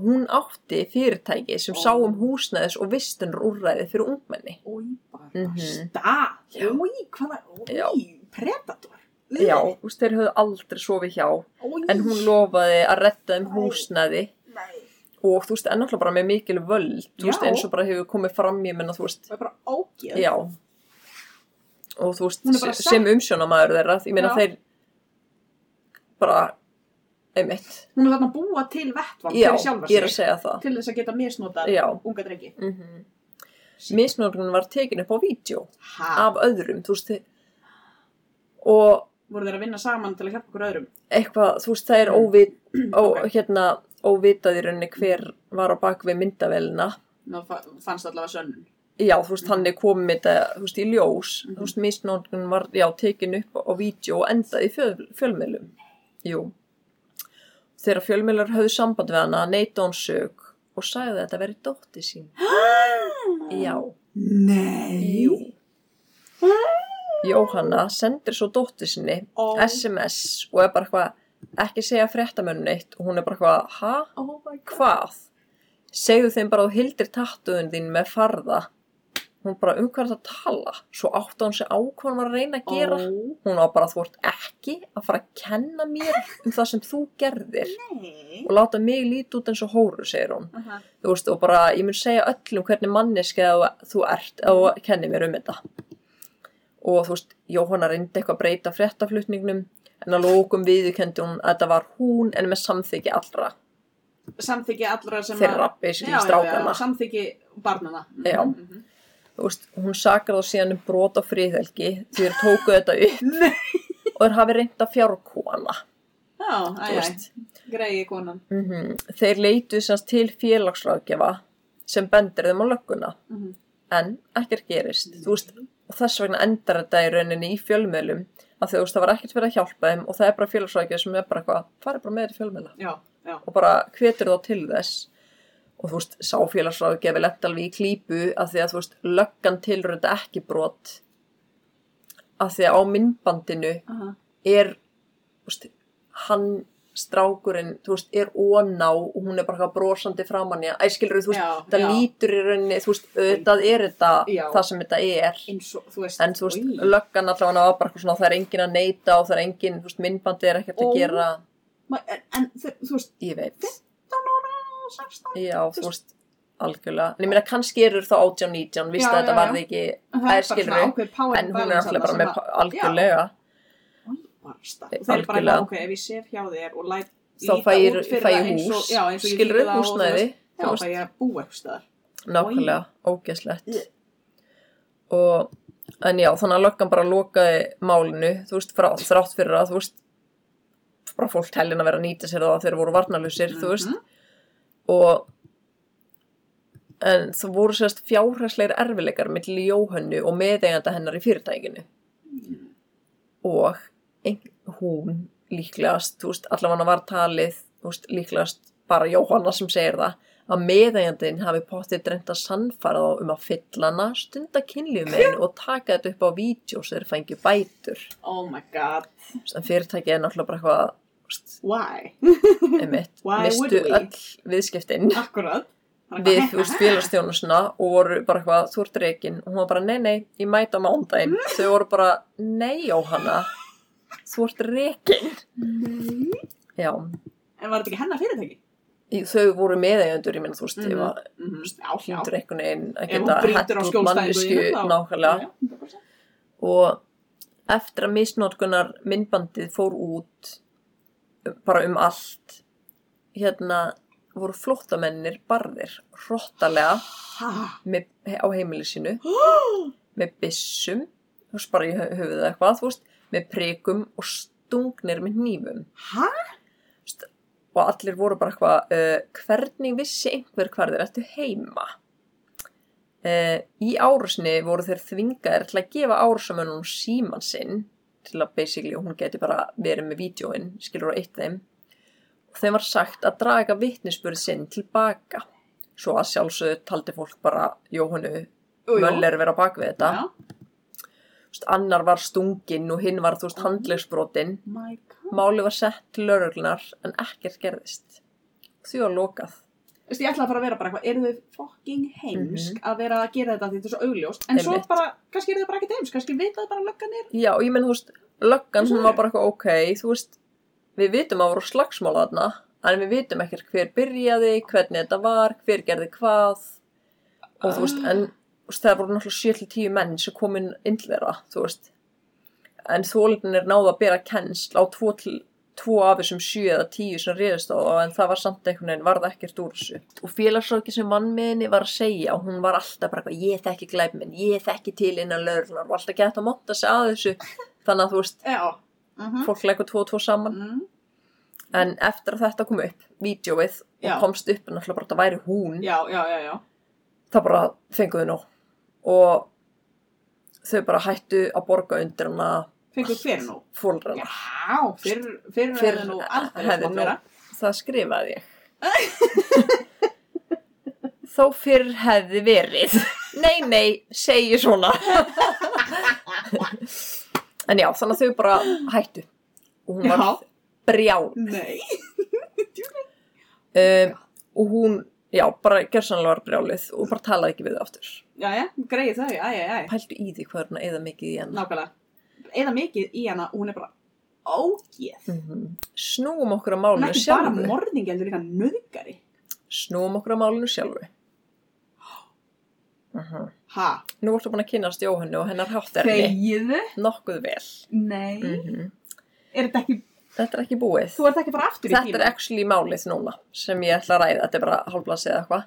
Speaker 4: Hún átti fyrirtæki sem sá um húsnæðis og vistunar úrræði fyrir ungmenni.
Speaker 5: Új, bara
Speaker 4: Mhm.
Speaker 5: stað.
Speaker 4: Já.
Speaker 5: Új, hvaða,
Speaker 4: Já.
Speaker 5: új, predator.
Speaker 4: Já, þú veist, þeir höfðu aldrei sofið hjá
Speaker 5: Új,
Speaker 4: en hún lofaði að retta þeim húsnæði
Speaker 5: Nei,
Speaker 4: og þú veist, ennáttúrulega bara með mikil völd, þú veist,
Speaker 5: Já.
Speaker 4: eins og bara hefur komið fram, ég menna, þú veist,
Speaker 5: það er bara ógeð.
Speaker 4: já. Og þú veist,
Speaker 5: Hún er bara
Speaker 4: se- sem umsjónamaður þeirra, ég menna,
Speaker 5: Já.
Speaker 4: þeir bara, einmitt,
Speaker 5: Hún er þarna að búa til vettvang
Speaker 4: já,
Speaker 5: fyrir sjálfa
Speaker 4: ég er að
Speaker 5: sig.
Speaker 4: segja það.
Speaker 5: Til þess að geta misnotað
Speaker 4: Já.
Speaker 5: unga drengi.
Speaker 4: Mm Misnóknun var tekin upp á vídeo
Speaker 5: Ha,
Speaker 4: af öðrum, þú veist, þið- og
Speaker 5: voru þeir að vinna saman til að hjálpa okkur öðrum?
Speaker 4: eitthvað, þú veist, það er óvit, ó, hérna, óvitað í rauninni hver var á bak við myndavélina.
Speaker 5: Ná, fa- fannst allavega sönnun.
Speaker 4: Já, þú veist, hann er komið þetta, þú veist, í ljós, þú veist, misnóknun var, já, tekin upp á vídeo og endaði í fjöl, fjölmiðlum. Jú. Þegar fjölmiðlar höfðu samband við hana, neita hún sög og sagði að þetta verið dótti sín. já.
Speaker 5: Nei.
Speaker 4: Jú. Jóhanna sendir svo dóttir sinni
Speaker 5: Ó.
Speaker 4: SMS og er bara eitthvað ekki segja fréttamönnu eitt og hún er bara eitthvað, ha?
Speaker 5: Oh my god.
Speaker 4: Hvað? Segðu þeim bara að þú hildir tattuðun þín með farða. Hún bara um hvað er það að tala? Svo átti hún sig á hvað hún var að reyna að gera. Hún á bara þú ert ekki að fara að kenna mér um það sem þú gerðir
Speaker 5: Nei.
Speaker 4: og láta mig líti út eins og hóru, segir hún.
Speaker 5: Aha.
Speaker 4: Þú veist, og bara, ég mun segja öllum hvernig manneskið þú ert og kenni mér um þetta. Og þú veist, Jóhanna reyndi eitthvað að breyta fréttaflutningnum en að lókum viðurkendi hún að þetta var hún en með samþyggi allra
Speaker 5: Samþykki allra sem
Speaker 4: þeirra,
Speaker 5: að...
Speaker 4: basically, strákana.
Speaker 5: samþykki barnana.
Speaker 4: Já.
Speaker 5: Mhm.
Speaker 4: Þú veist, hún sakar þá síðan um brot á friðhelgi því þeir tóku þetta upp
Speaker 5: [laughs] Nei.
Speaker 4: og þeir hafi reynda fjárkóana.
Speaker 5: Já, æj, æj. Greiði konan.
Speaker 4: Mm Þeir leituð semst til félagsráðgjafa sem bendir þeim á lögguna
Speaker 5: Mhm.
Speaker 4: en ekkert gerist. Þú veist, og þess vegna endar þetta í rauninni í fjölmiðlum að þú veist, það var ekkert verið að hjálpa þeim og það er bara félagsráðgjafa sem er bara eitthvað, farið bara með þetta í fjölmiðla.
Speaker 5: Já, já.
Speaker 4: og bara hvetur þá til þess og þú veist, sáfélagsráð gefi lett alveg í klípu að því að þú veist, löggan tilur þetta ekki brot að því að á myndbandinu
Speaker 5: Aha.
Speaker 4: er þú veist, hann strákurinn, þú veist, er óná og hún er bara eitthvað brosandi framann í að æskilur, þú veist,
Speaker 5: Já,
Speaker 4: það
Speaker 5: já.
Speaker 4: lítur í rauninni, þú veist, auðvitað er þetta
Speaker 5: Já.
Speaker 4: það sem þetta er
Speaker 5: Eins og, þú veist...
Speaker 4: en þú veist,
Speaker 5: Oj.
Speaker 4: löggan allavega var bara eitthvað svona, það er engin að neyta og það er engin, þú veist, myndbandi er ekkert
Speaker 5: Ó.
Speaker 4: að gera,
Speaker 5: Ma- En, en þau- þú veist,
Speaker 4: ég veit
Speaker 5: 15 ára, 16
Speaker 4: Já, þú veist, algjörlega. En ég meina, kannski eru þá 18, 19, víst
Speaker 5: Já,
Speaker 4: að þetta
Speaker 5: já,
Speaker 4: varði ekki,
Speaker 5: Það
Speaker 4: er skilur við,
Speaker 5: ákveð power
Speaker 4: en hún er
Speaker 5: balance
Speaker 4: alltaf bara
Speaker 5: þarna
Speaker 4: með
Speaker 5: sem að-
Speaker 4: pa- algjörlega.
Speaker 5: barsta. Og það er bara
Speaker 4: Algjörlega.
Speaker 5: eitthvað, ok, ef ég sef hjá þér og læt
Speaker 4: Þá
Speaker 5: líta
Speaker 4: fæ ég,
Speaker 5: út fyrir
Speaker 4: fæ
Speaker 5: það
Speaker 4: ég
Speaker 5: eins
Speaker 4: hús,
Speaker 5: og- já, eins og ég
Speaker 4: skilur
Speaker 5: þykir
Speaker 4: við
Speaker 5: það og þú
Speaker 4: húsnæði,
Speaker 5: veist, Já,
Speaker 4: þú
Speaker 5: fæ
Speaker 4: veist,
Speaker 5: ég að búa eitthvað staðar.
Speaker 4: nákvæmlega, ógeslegt.
Speaker 5: Í.
Speaker 4: Og, en já, þannig að löggan bara lokaði málinu, þú veist, frá, þrátt fyrir að, þú veist, bara fólk tellin að vera að nýta sér það að þeir voru varnalusir, þú veist, og en það voru sérst fjárhæsleir erfileikar mitt Jóhönnu og meðeiganda hennar í fyrirtækinu og ein, hún líklegast, þú veist, allavega var talið, þú veist, líklegast bara Jóhanna sem segir það að meðeigandinn hafi pottið dreint að sannfara þá um að fylla hana, stunda kynlíf með henni og taka þetta upp á vídeo sem þeir fengi bætur.
Speaker 5: Oh my god,
Speaker 4: Þú veist, En fyrirtækið er náttúrulega bara eitthvað, þú veist,
Speaker 5: why?
Speaker 4: einmitt,
Speaker 5: Why would
Speaker 4: mistu
Speaker 5: we?
Speaker 4: öll viðskiptin
Speaker 5: Akkurat.
Speaker 4: við, þú veist, félagstjónusina og voru bara eitthvað, þú ert reikin og hún var bara, nei, nei, ég mæta á mándaginn þau voru bara, nei, Jóhanna þú ert reikin já,
Speaker 5: En var þetta ekki hennar fyrirtæki?
Speaker 4: í- þau voru meðeigendur, ég minna, þú veist,
Speaker 5: Mhm.
Speaker 4: ég var
Speaker 5: Mm -hmm. Já, já.
Speaker 4: hljóndur einhvern veginn að
Speaker 5: Ef hún
Speaker 4: geta
Speaker 5: brýtur á
Speaker 4: hett út
Speaker 5: skjólstæðingu
Speaker 4: mannesku
Speaker 5: þínum, þá-
Speaker 4: nákvæmlega
Speaker 5: Já, 100%.
Speaker 4: og eftir að misnótkunar myndbandið fór út bara um allt hérna voru flóttamennir barðir hróttalega
Speaker 5: Ha?
Speaker 4: með, á heimili sínu með byssum þú veist bara í hö- höfuðið eitthvað þú veist, með prikum og stungnir með nýfum
Speaker 5: Ha?
Speaker 4: og allir voru bara eitthvað uh, hvernig vissi einhver hvar þeir ættu heima uh, í árusni voru þeir þvingaðir til að gefa árusamönnum síman sinn til að basically hún geti bara verið með vídjóin skilur á eitt þeim og þeim var sagt að draga vitnisbörð sinn tilbaka svo að sjálfsögðu taldi fólk bara Jóhannu
Speaker 5: Jú, jú.
Speaker 4: Möller vera á bak við þetta
Speaker 5: Já.
Speaker 4: veist, annar var stunginn og hinn var, þú veist, handlegsbrotinn.
Speaker 2: My god.
Speaker 4: Máli var sett til lögreglunar en ekkert gerðist. Því var lokað.
Speaker 5: Veistu, ég ætla að fara að vera bara eitthvað, eru þau fucking heimsk að vera að gera þetta af því þetta er svo augljóst, en svo
Speaker 4: Mhm. Einmitt.
Speaker 5: bara, kannski eru þau bara ekkert heimsk, kannski vitaðu bara lögganir.
Speaker 4: Já, og ég menn, þú veist, löggan hún var bara eitthvað ok, þú veist, við vitum að voru slagsmála þarna, en við vitum ekkert hver byrjaði, hvernig þetta var, hver gerði hvað, og þú veist, en þú veist, það voru náttúrulega 7 til 10 menn sem kom inn inn til þeirra, þú veist, en þólinn er náða að bera kennsl á 2 til tvo af þessum sjö eða tíu sem reyðist á það en það var samt einhvern veginn, varð ekkert úr þessu og félagsráki sem mannmiðinni var að segja og hún var alltaf bara eitthvað, ég þekki glæpminn ég þekki til innan lögurnar og alltaf gett að monta sig að þessu þannig að þú veist,
Speaker 5: Já. Mm
Speaker 4: fólk leggur tvo og tvo saman
Speaker 5: Mm.
Speaker 4: en eftir að þetta kom upp, vídjóið
Speaker 5: Já.
Speaker 4: og komst upp, náttúrulega bara þetta væri hún
Speaker 5: Já, já, já, já.
Speaker 4: það bara fenguðu nóg og þau bara hættu að borga undir hana
Speaker 5: Fengur hver nú?
Speaker 4: fólra
Speaker 5: Já,
Speaker 4: hana
Speaker 5: fyrr, fyrr,
Speaker 4: Fyrr
Speaker 5: hefði nú aldrei sko,
Speaker 4: hefði nú-
Speaker 5: mátt vera.
Speaker 4: það skrifaði ég
Speaker 5: [laughs]
Speaker 4: þó fyrr hefði verið nei, nei, segi svona en já, þannig að þau bara hættu og hún var
Speaker 5: Já.
Speaker 4: brjál
Speaker 5: Nei.
Speaker 4: um, og hún, já, bara gerðsanlega var brjálið og bara talaði ekki við þau aftur
Speaker 5: Já, já, greið þau, æ, æ, æ.
Speaker 4: pældu í því hvað er hún að eða mikið í henn
Speaker 5: Nákvæmlega. Eða mikið í hana, og hún er bara ógeð.
Speaker 4: mm snúum okkur að
Speaker 5: Hún er
Speaker 4: málinu
Speaker 5: ekki bara
Speaker 4: sjálfu
Speaker 5: morðingi, heldur líka nöðgari.
Speaker 4: snúum okkur að málinu sjálfu uh -huh.
Speaker 5: Ha,
Speaker 4: nú ertu búin að kynast Jóhannu og hennar hátterni
Speaker 2: Þegiðu?
Speaker 4: nokkuð vel
Speaker 2: Nei.
Speaker 4: -hmm.
Speaker 2: Er þetta ekki,
Speaker 4: Þetta er ekki búið.
Speaker 5: þú ert ekki bara aftur í
Speaker 4: Þetta er
Speaker 5: tíma.
Speaker 4: actually málið núna sem ég ætla að ræða. Þetta er bara hálfblansi eða eitthvað.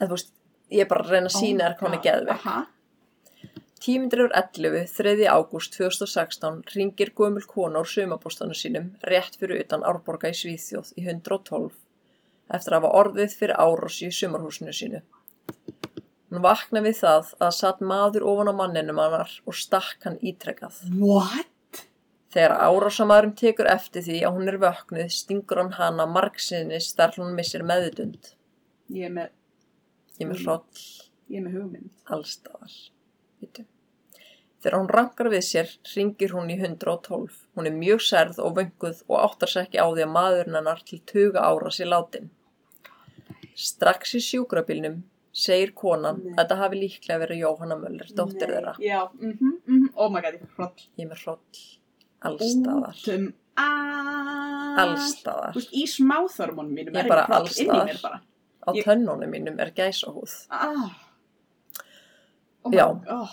Speaker 4: En þú veist, ég er bara að reyna að
Speaker 5: Oh
Speaker 4: sína þér hvað hann er geðveg.
Speaker 5: Aha.
Speaker 4: Tímindrefur 11, 3. ágúst 2016, ringir gömul kona úr sumabústanu sínum rétt fyrir utan Árborga í Svíþjóð í 112 eftir að hafa orðið fyrir árási í sumarhúsinu sínu. Hún vakna við það að satt maður ofan á manninum annar og stakk hann ítrekað.
Speaker 5: What?
Speaker 4: Þegar árásamæðurum tekur eftir því að hún er vöknuð, stingur hann hana margsinnis þar hún missir meðutund.
Speaker 5: Ég er með,
Speaker 4: Ég er
Speaker 5: Mm.
Speaker 4: með hróll
Speaker 5: ég er með hugmynd.
Speaker 4: allstaðar. Bíddu. Þegar hún rankar við sér, ringir hún í 112. Hún er mjög særð og vönguð og áttar sér ekki á því að maðurinn hennar til tuga ára sér látin. Strax í sjúkrabílnum segir konan
Speaker 5: Nei.
Speaker 4: að þetta hafi líklega verið Jóhanna Möller, dóttir
Speaker 5: Nei,
Speaker 4: þeirra.
Speaker 5: Já, mhm, mhm, oh my god, ég er hrott.
Speaker 4: Ég er með hróll allstaðar.
Speaker 5: Útum allt. Þú
Speaker 4: Allstaðar.
Speaker 5: veist, í smáþörmunum mínum
Speaker 4: Ég
Speaker 5: er
Speaker 4: bara
Speaker 5: ekki hroll inn í
Speaker 4: allstaðar.
Speaker 5: mér bara.
Speaker 4: Á
Speaker 5: Ég-
Speaker 4: tönnunum mínum er gæsahúð.
Speaker 5: Ah. Oh
Speaker 4: Já.
Speaker 5: Oh.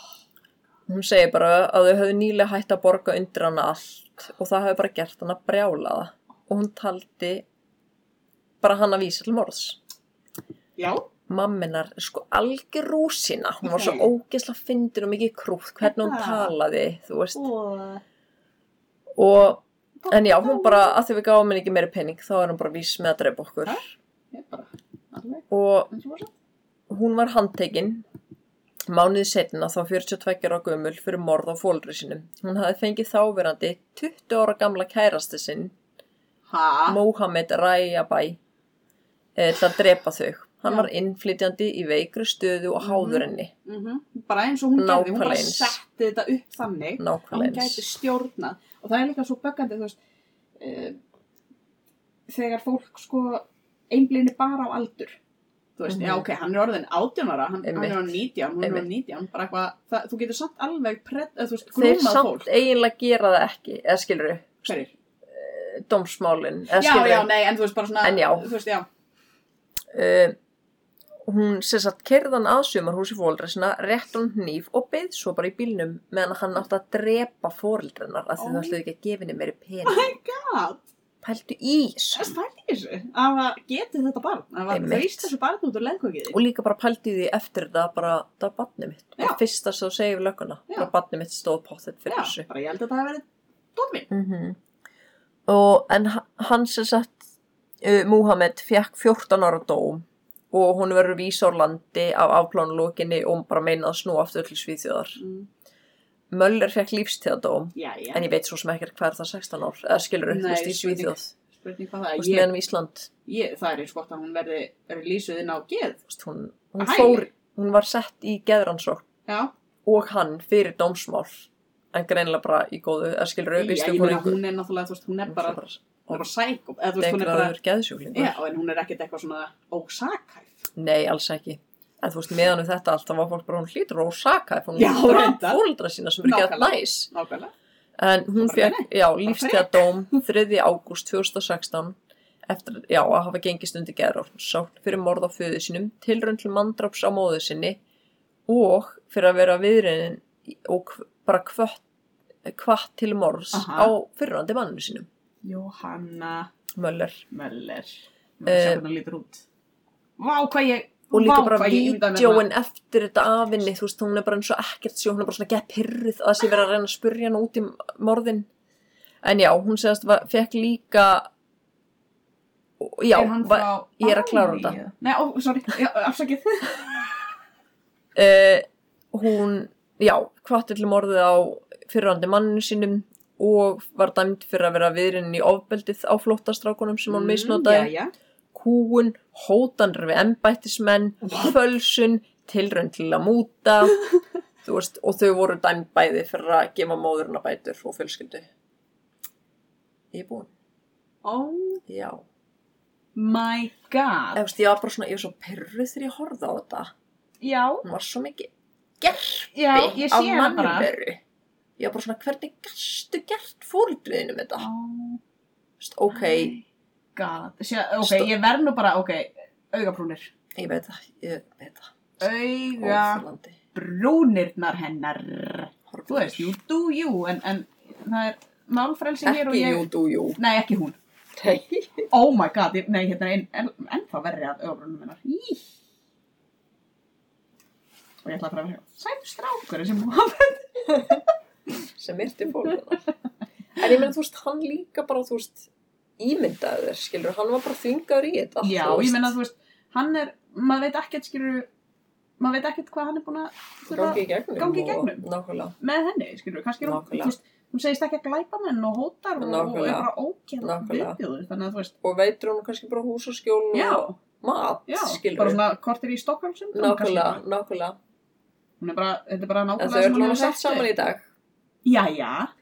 Speaker 4: Hún segir bara að þau höfðu nýlega hætt að borga undir hana allt og það hefur bara gert hana brjálaða og hún taldi bara hana vísa til morðs.
Speaker 5: Já,
Speaker 4: Mamminar er sko algjör rúsina, hún var svo
Speaker 5: Nei.
Speaker 4: ógesla fyndin og mikið krútt, hvernig hún
Speaker 5: Ha.
Speaker 4: talaði, þú veist.
Speaker 5: og
Speaker 4: Og, en já, hún bara, að því við gáum henni ekki meiri pening, þá er hún bara vís með að drepa okkur.
Speaker 5: ég bara, alveg,
Speaker 4: Og
Speaker 5: eins og það.
Speaker 4: hún var handtekinn mánuði setna þá 42 ára gömul fyrir morð á fólri sínum. Hún hafði fengið þáverandi 20 ára gamla kærasti sinn,
Speaker 5: Ha?
Speaker 4: Mohamed Rajabæ, eh, til að drepa þau. Hann
Speaker 5: Já.
Speaker 4: var innflytjandi í veikri stöðu og háður henni,
Speaker 5: mhm, Bara eins og hún gerði, hún
Speaker 4: Nákvæmlega
Speaker 5: bara
Speaker 4: eins.
Speaker 5: setti þetta upp þannig að hún
Speaker 4: nákvæmlega
Speaker 5: gæti
Speaker 4: eins.
Speaker 5: stjórnað og það er líka svo böggandi þú veist uh, þegar fólk sko einblýni bara á aldur þú veist,
Speaker 4: Mhm.
Speaker 5: já ok, hann er orðin 18 ára hann, hann
Speaker 4: Einmitt.
Speaker 5: er orðin 19, hún er orðin 19 bara eitthvað, það- þú getur samt alveg pred, eða, þú veist,
Speaker 4: Þeir
Speaker 5: grúmað
Speaker 4: samt
Speaker 5: fólk
Speaker 4: eiginlega gera það ekki, eða skilur þau,
Speaker 5: Hverjir?
Speaker 4: domsmálin, eða
Speaker 5: Já,
Speaker 4: skilur
Speaker 5: já, nei, en þú veist bara svona
Speaker 4: En já.
Speaker 5: þú veist, já,
Speaker 4: uh, hún sem sagt kerðan að sumarhúsi fóreldresina, rétt hún hníf og beð svo bara í bílnum meðan hann átti að drepa fóreldrenar af því
Speaker 5: Oh.
Speaker 4: það ætlaði ekki að gefa henni meiri pening.
Speaker 5: já
Speaker 4: Pældu í þessu.
Speaker 5: þess fælt í þessu að það geti þetta barn að það
Speaker 4: Einmitt.
Speaker 5: freyst þessu barn út úr leðkókiði
Speaker 4: Og líka bara pældu í því eftir þetta bara, það var barnið mitt. Það
Speaker 5: Já.
Speaker 4: var fyrsta sem þú segir við lögguna.
Speaker 5: Já.
Speaker 4: Bara barnið mitt stóð pottet fyrir
Speaker 5: já,
Speaker 4: þessu.
Speaker 5: bara ég held að það hafi verið dótmin
Speaker 4: Mm Og en h- hann sem sagt, uh, Múhamed, fekk 14 ára dóm og hún verður vísa á landi af afplánulókinni og bara meinað að snúa aftur til Svíþjóðar.
Speaker 5: mm.
Speaker 4: Möller fekk lífstíðadóm
Speaker 5: já, já,
Speaker 4: en ég veit svo sem ekkert hvað er það 16 ár eða skilur þú
Speaker 5: Nei,
Speaker 4: veist í
Speaker 5: spurning.
Speaker 4: Svíþjóð þú
Speaker 5: spurning hvað það er
Speaker 4: veist
Speaker 5: ég,
Speaker 4: meðan við Ísland þú
Speaker 5: ég, það er eins gott að hún verði, verði lýsuð inn á geð
Speaker 4: veist, hún, hún
Speaker 5: Hæ.
Speaker 4: fór, hún var sett í geðrannsók
Speaker 5: já,
Speaker 4: og hann fyrir dómsmál en greinlega bara í góðu, eða skilur
Speaker 5: Já, ég meina, hún er náttúrulega, þú veist, hún er bara, hún er bara sæk, eða þú veist, hún er bara,
Speaker 4: degraður geðsjúklingur
Speaker 5: já, en hún er ekkert eitthvað svona ósakhæf.
Speaker 4: Nei, alls ekki. En þú veist, meðan við þetta allt, þá var fólk bara, hún hlýtur og saka ef hún
Speaker 5: Já,
Speaker 4: reyndar
Speaker 5: reyndar.
Speaker 4: fólundra sína sem eru ekki að
Speaker 5: Nákvæmlega.
Speaker 4: næs.
Speaker 5: Nákvæmlega.
Speaker 4: En hún
Speaker 5: Bara
Speaker 4: fekk, já, lífstíðadóm 3. ágúst 2016 eftir, já, að hafa gengist undir geðrórnsókn fyrir morð á föðu sínum, tilraun til mandraps á móðu sinni og fyrir að vera viðriðin og hv- bara hvött hvatt til morðs
Speaker 5: Aha.
Speaker 4: á fyrirrandi manninu sínum,
Speaker 5: Jóhanna
Speaker 4: Möller.
Speaker 5: Möller. Nú,
Speaker 4: Eh,
Speaker 5: sjá hvernig hún lítur út. Vá, hvað ég,
Speaker 4: og líka
Speaker 5: vá,
Speaker 4: bara
Speaker 5: hvað ég ímynda mér
Speaker 4: vídjóin eftir þetta afinni, þú veist, hún er bara eins og ekkert sjó, hún er bara svona gett pyrruð að það sé verið að reyna að spurja hann út í morðin en já, hún segast, var, fekk líka og- já,
Speaker 5: Er hann
Speaker 4: var,
Speaker 5: frá
Speaker 4: ég er að klára
Speaker 5: Balí,
Speaker 4: þetta.
Speaker 5: eða? Nei, ó, sorry, já, afsakið.
Speaker 4: uh, hún, já, hvatti til morðið á fyrrandi manninu sínum og var dæmd fyrir að vera viðrinn í ofbeldið á flóttastrákunum sem hún misnotaði
Speaker 5: Mm, Já, já.
Speaker 4: kúun, hótanur við embættismenn, fölsun, tilraun til að
Speaker 5: [laughs]
Speaker 4: múta, þú veist, og þau voru dæmd bæði fyrir að gefa móðurna bætur og fjölskyldu. Ég er búin,
Speaker 5: Oh
Speaker 4: já.
Speaker 5: my god.
Speaker 4: Ef þú veist, ég var bara svona, ég var svo perruð þegar ég horfði á þetta.
Speaker 5: Já,
Speaker 4: Hún var svo mikið gerfi
Speaker 5: já, ég
Speaker 4: af
Speaker 5: sé hana bara.
Speaker 4: mannveru. Ég var bara svona, hvernig gastu gert fóruldriðinu með þetta?
Speaker 5: Oh
Speaker 4: Þú veist, ok,
Speaker 5: god. Sjá, ok,
Speaker 4: Stó-
Speaker 5: ég verð nú bara, ok, augabrúnir.
Speaker 4: ég veit það, ég veit það.
Speaker 5: Augabrúnirnar
Speaker 4: Óþolandi.
Speaker 5: hennar.
Speaker 4: Horfir.
Speaker 5: Þú veist, you do you, en, en það er málfrelsi hér og
Speaker 4: Ekki
Speaker 5: ég...
Speaker 4: jú, dú, jú.
Speaker 5: Nei, ekki hún.
Speaker 4: Nei.
Speaker 5: Oh my god, ég, nei, hérna er ein- en, ennþá verri að augabrúnum hennar. Í. Og ég ætla að fara að vera sæm strákur sem hún hafa.
Speaker 4: sem myrti fólk þarna. en ég meina þú veist, hann líka bara þú veist, ímyndaði þér skilur, hann var bara þvingaður í þetta
Speaker 5: Já,
Speaker 4: þú
Speaker 5: ég
Speaker 4: veist.
Speaker 5: menna, þú veist, hann er, maður veit ekkert, skilur, maður veit ekkert hvað hann er búin að þurfa
Speaker 4: gangi í gegnum,
Speaker 5: gangi í
Speaker 4: og-
Speaker 5: gegnum.
Speaker 4: nákvæmlega,
Speaker 5: með henni, skilur, kannski er hún, þú
Speaker 4: Nákvæmlega.
Speaker 5: veist, hún segist ekki að glæpa menn og hótar og, og er
Speaker 4: Nákvæmlega.
Speaker 5: bara ógerð
Speaker 4: Nákvæmlega.
Speaker 5: viðbjóður, þannig að þú veist,
Speaker 4: og veitur hún kannski bara hús og skjól
Speaker 5: já,
Speaker 4: og mat,
Speaker 5: já,
Speaker 4: skilur
Speaker 5: bara svona kortir í Stockholm sem
Speaker 4: nákvæmlega, nákvæmlega
Speaker 5: hún er bara, þetta er bara
Speaker 4: en
Speaker 5: nákvæmlega
Speaker 4: þau eru
Speaker 5: hún
Speaker 4: hann sett saman í dag
Speaker 5: Jæja,